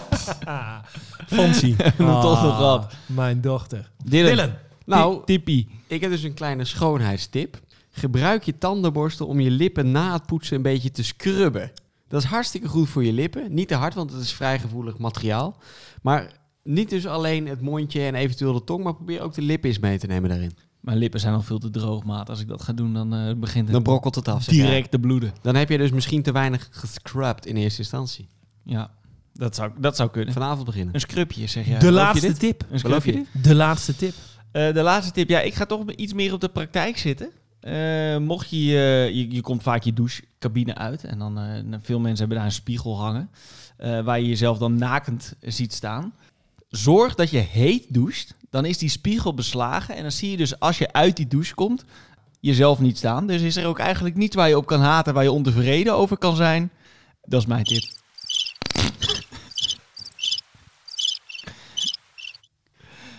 Fonsie. Een toffe grap. Ah, Mijn dochter. Dylan, Dylan. Nou, tippie. Ik heb dus een kleine schoonheidstip. Gebruik je tandenborstel om je lippen na het poetsen een beetje te scrubben. Dat is hartstikke goed voor je lippen. Niet te hard, want het is vrij gevoelig materiaal. Maar niet dus alleen het mondje en eventueel de tong, maar probeer ook de lippen eens mee te nemen daarin. Mijn lippen zijn al veel te droog, maat. Als ik dat ga doen, dan eh, begint Dan het brokkelt het af. zeg jij. direct te bloeden. Dan heb je dus misschien te weinig gescrubbed in eerste instantie. Ja, dat zou, dat zou kunnen. Vanavond beginnen. Een scrubje, zeg jij. de Geloof je laatste dit? tip. Een Geloof je scrubje. dit? De laatste tip. Eh, de laatste tip. Ja, ik ga toch iets meer op de praktijk zitten. Eh, mocht je, eh, je, je komt vaak je douchecabine uit en dan eh, nou, veel mensen hebben daar een spiegel hangen eh, waar je jezelf dan nakend ziet staan. Zorg dat je heet doucht, dan is die spiegel beslagen en dan zie je dus als je uit die douche komt jezelf niet staan. Dus is er ook eigenlijk niets waar je op kan haten, waar je ontevreden over kan zijn. Dat is mijn tip.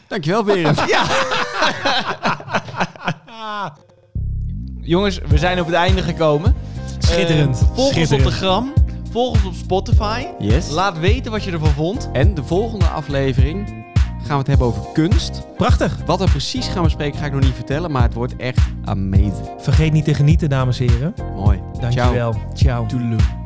Dankjewel, Beren. Jongens, we zijn op het einde gekomen. Schitterend. Eh, volg Schitterend. ons op de gram. Volg ons op Spotify. Yes. Laat weten wat je ervan vond. En de volgende aflevering gaan we het hebben over kunst. Prachtig. Wat we precies gaan bespreken ga ik nog niet vertellen, maar het wordt echt amazing. Vergeet niet te genieten, dames en heren. Mooi. Ciao. Dankjewel. Ciao. Toedeloe.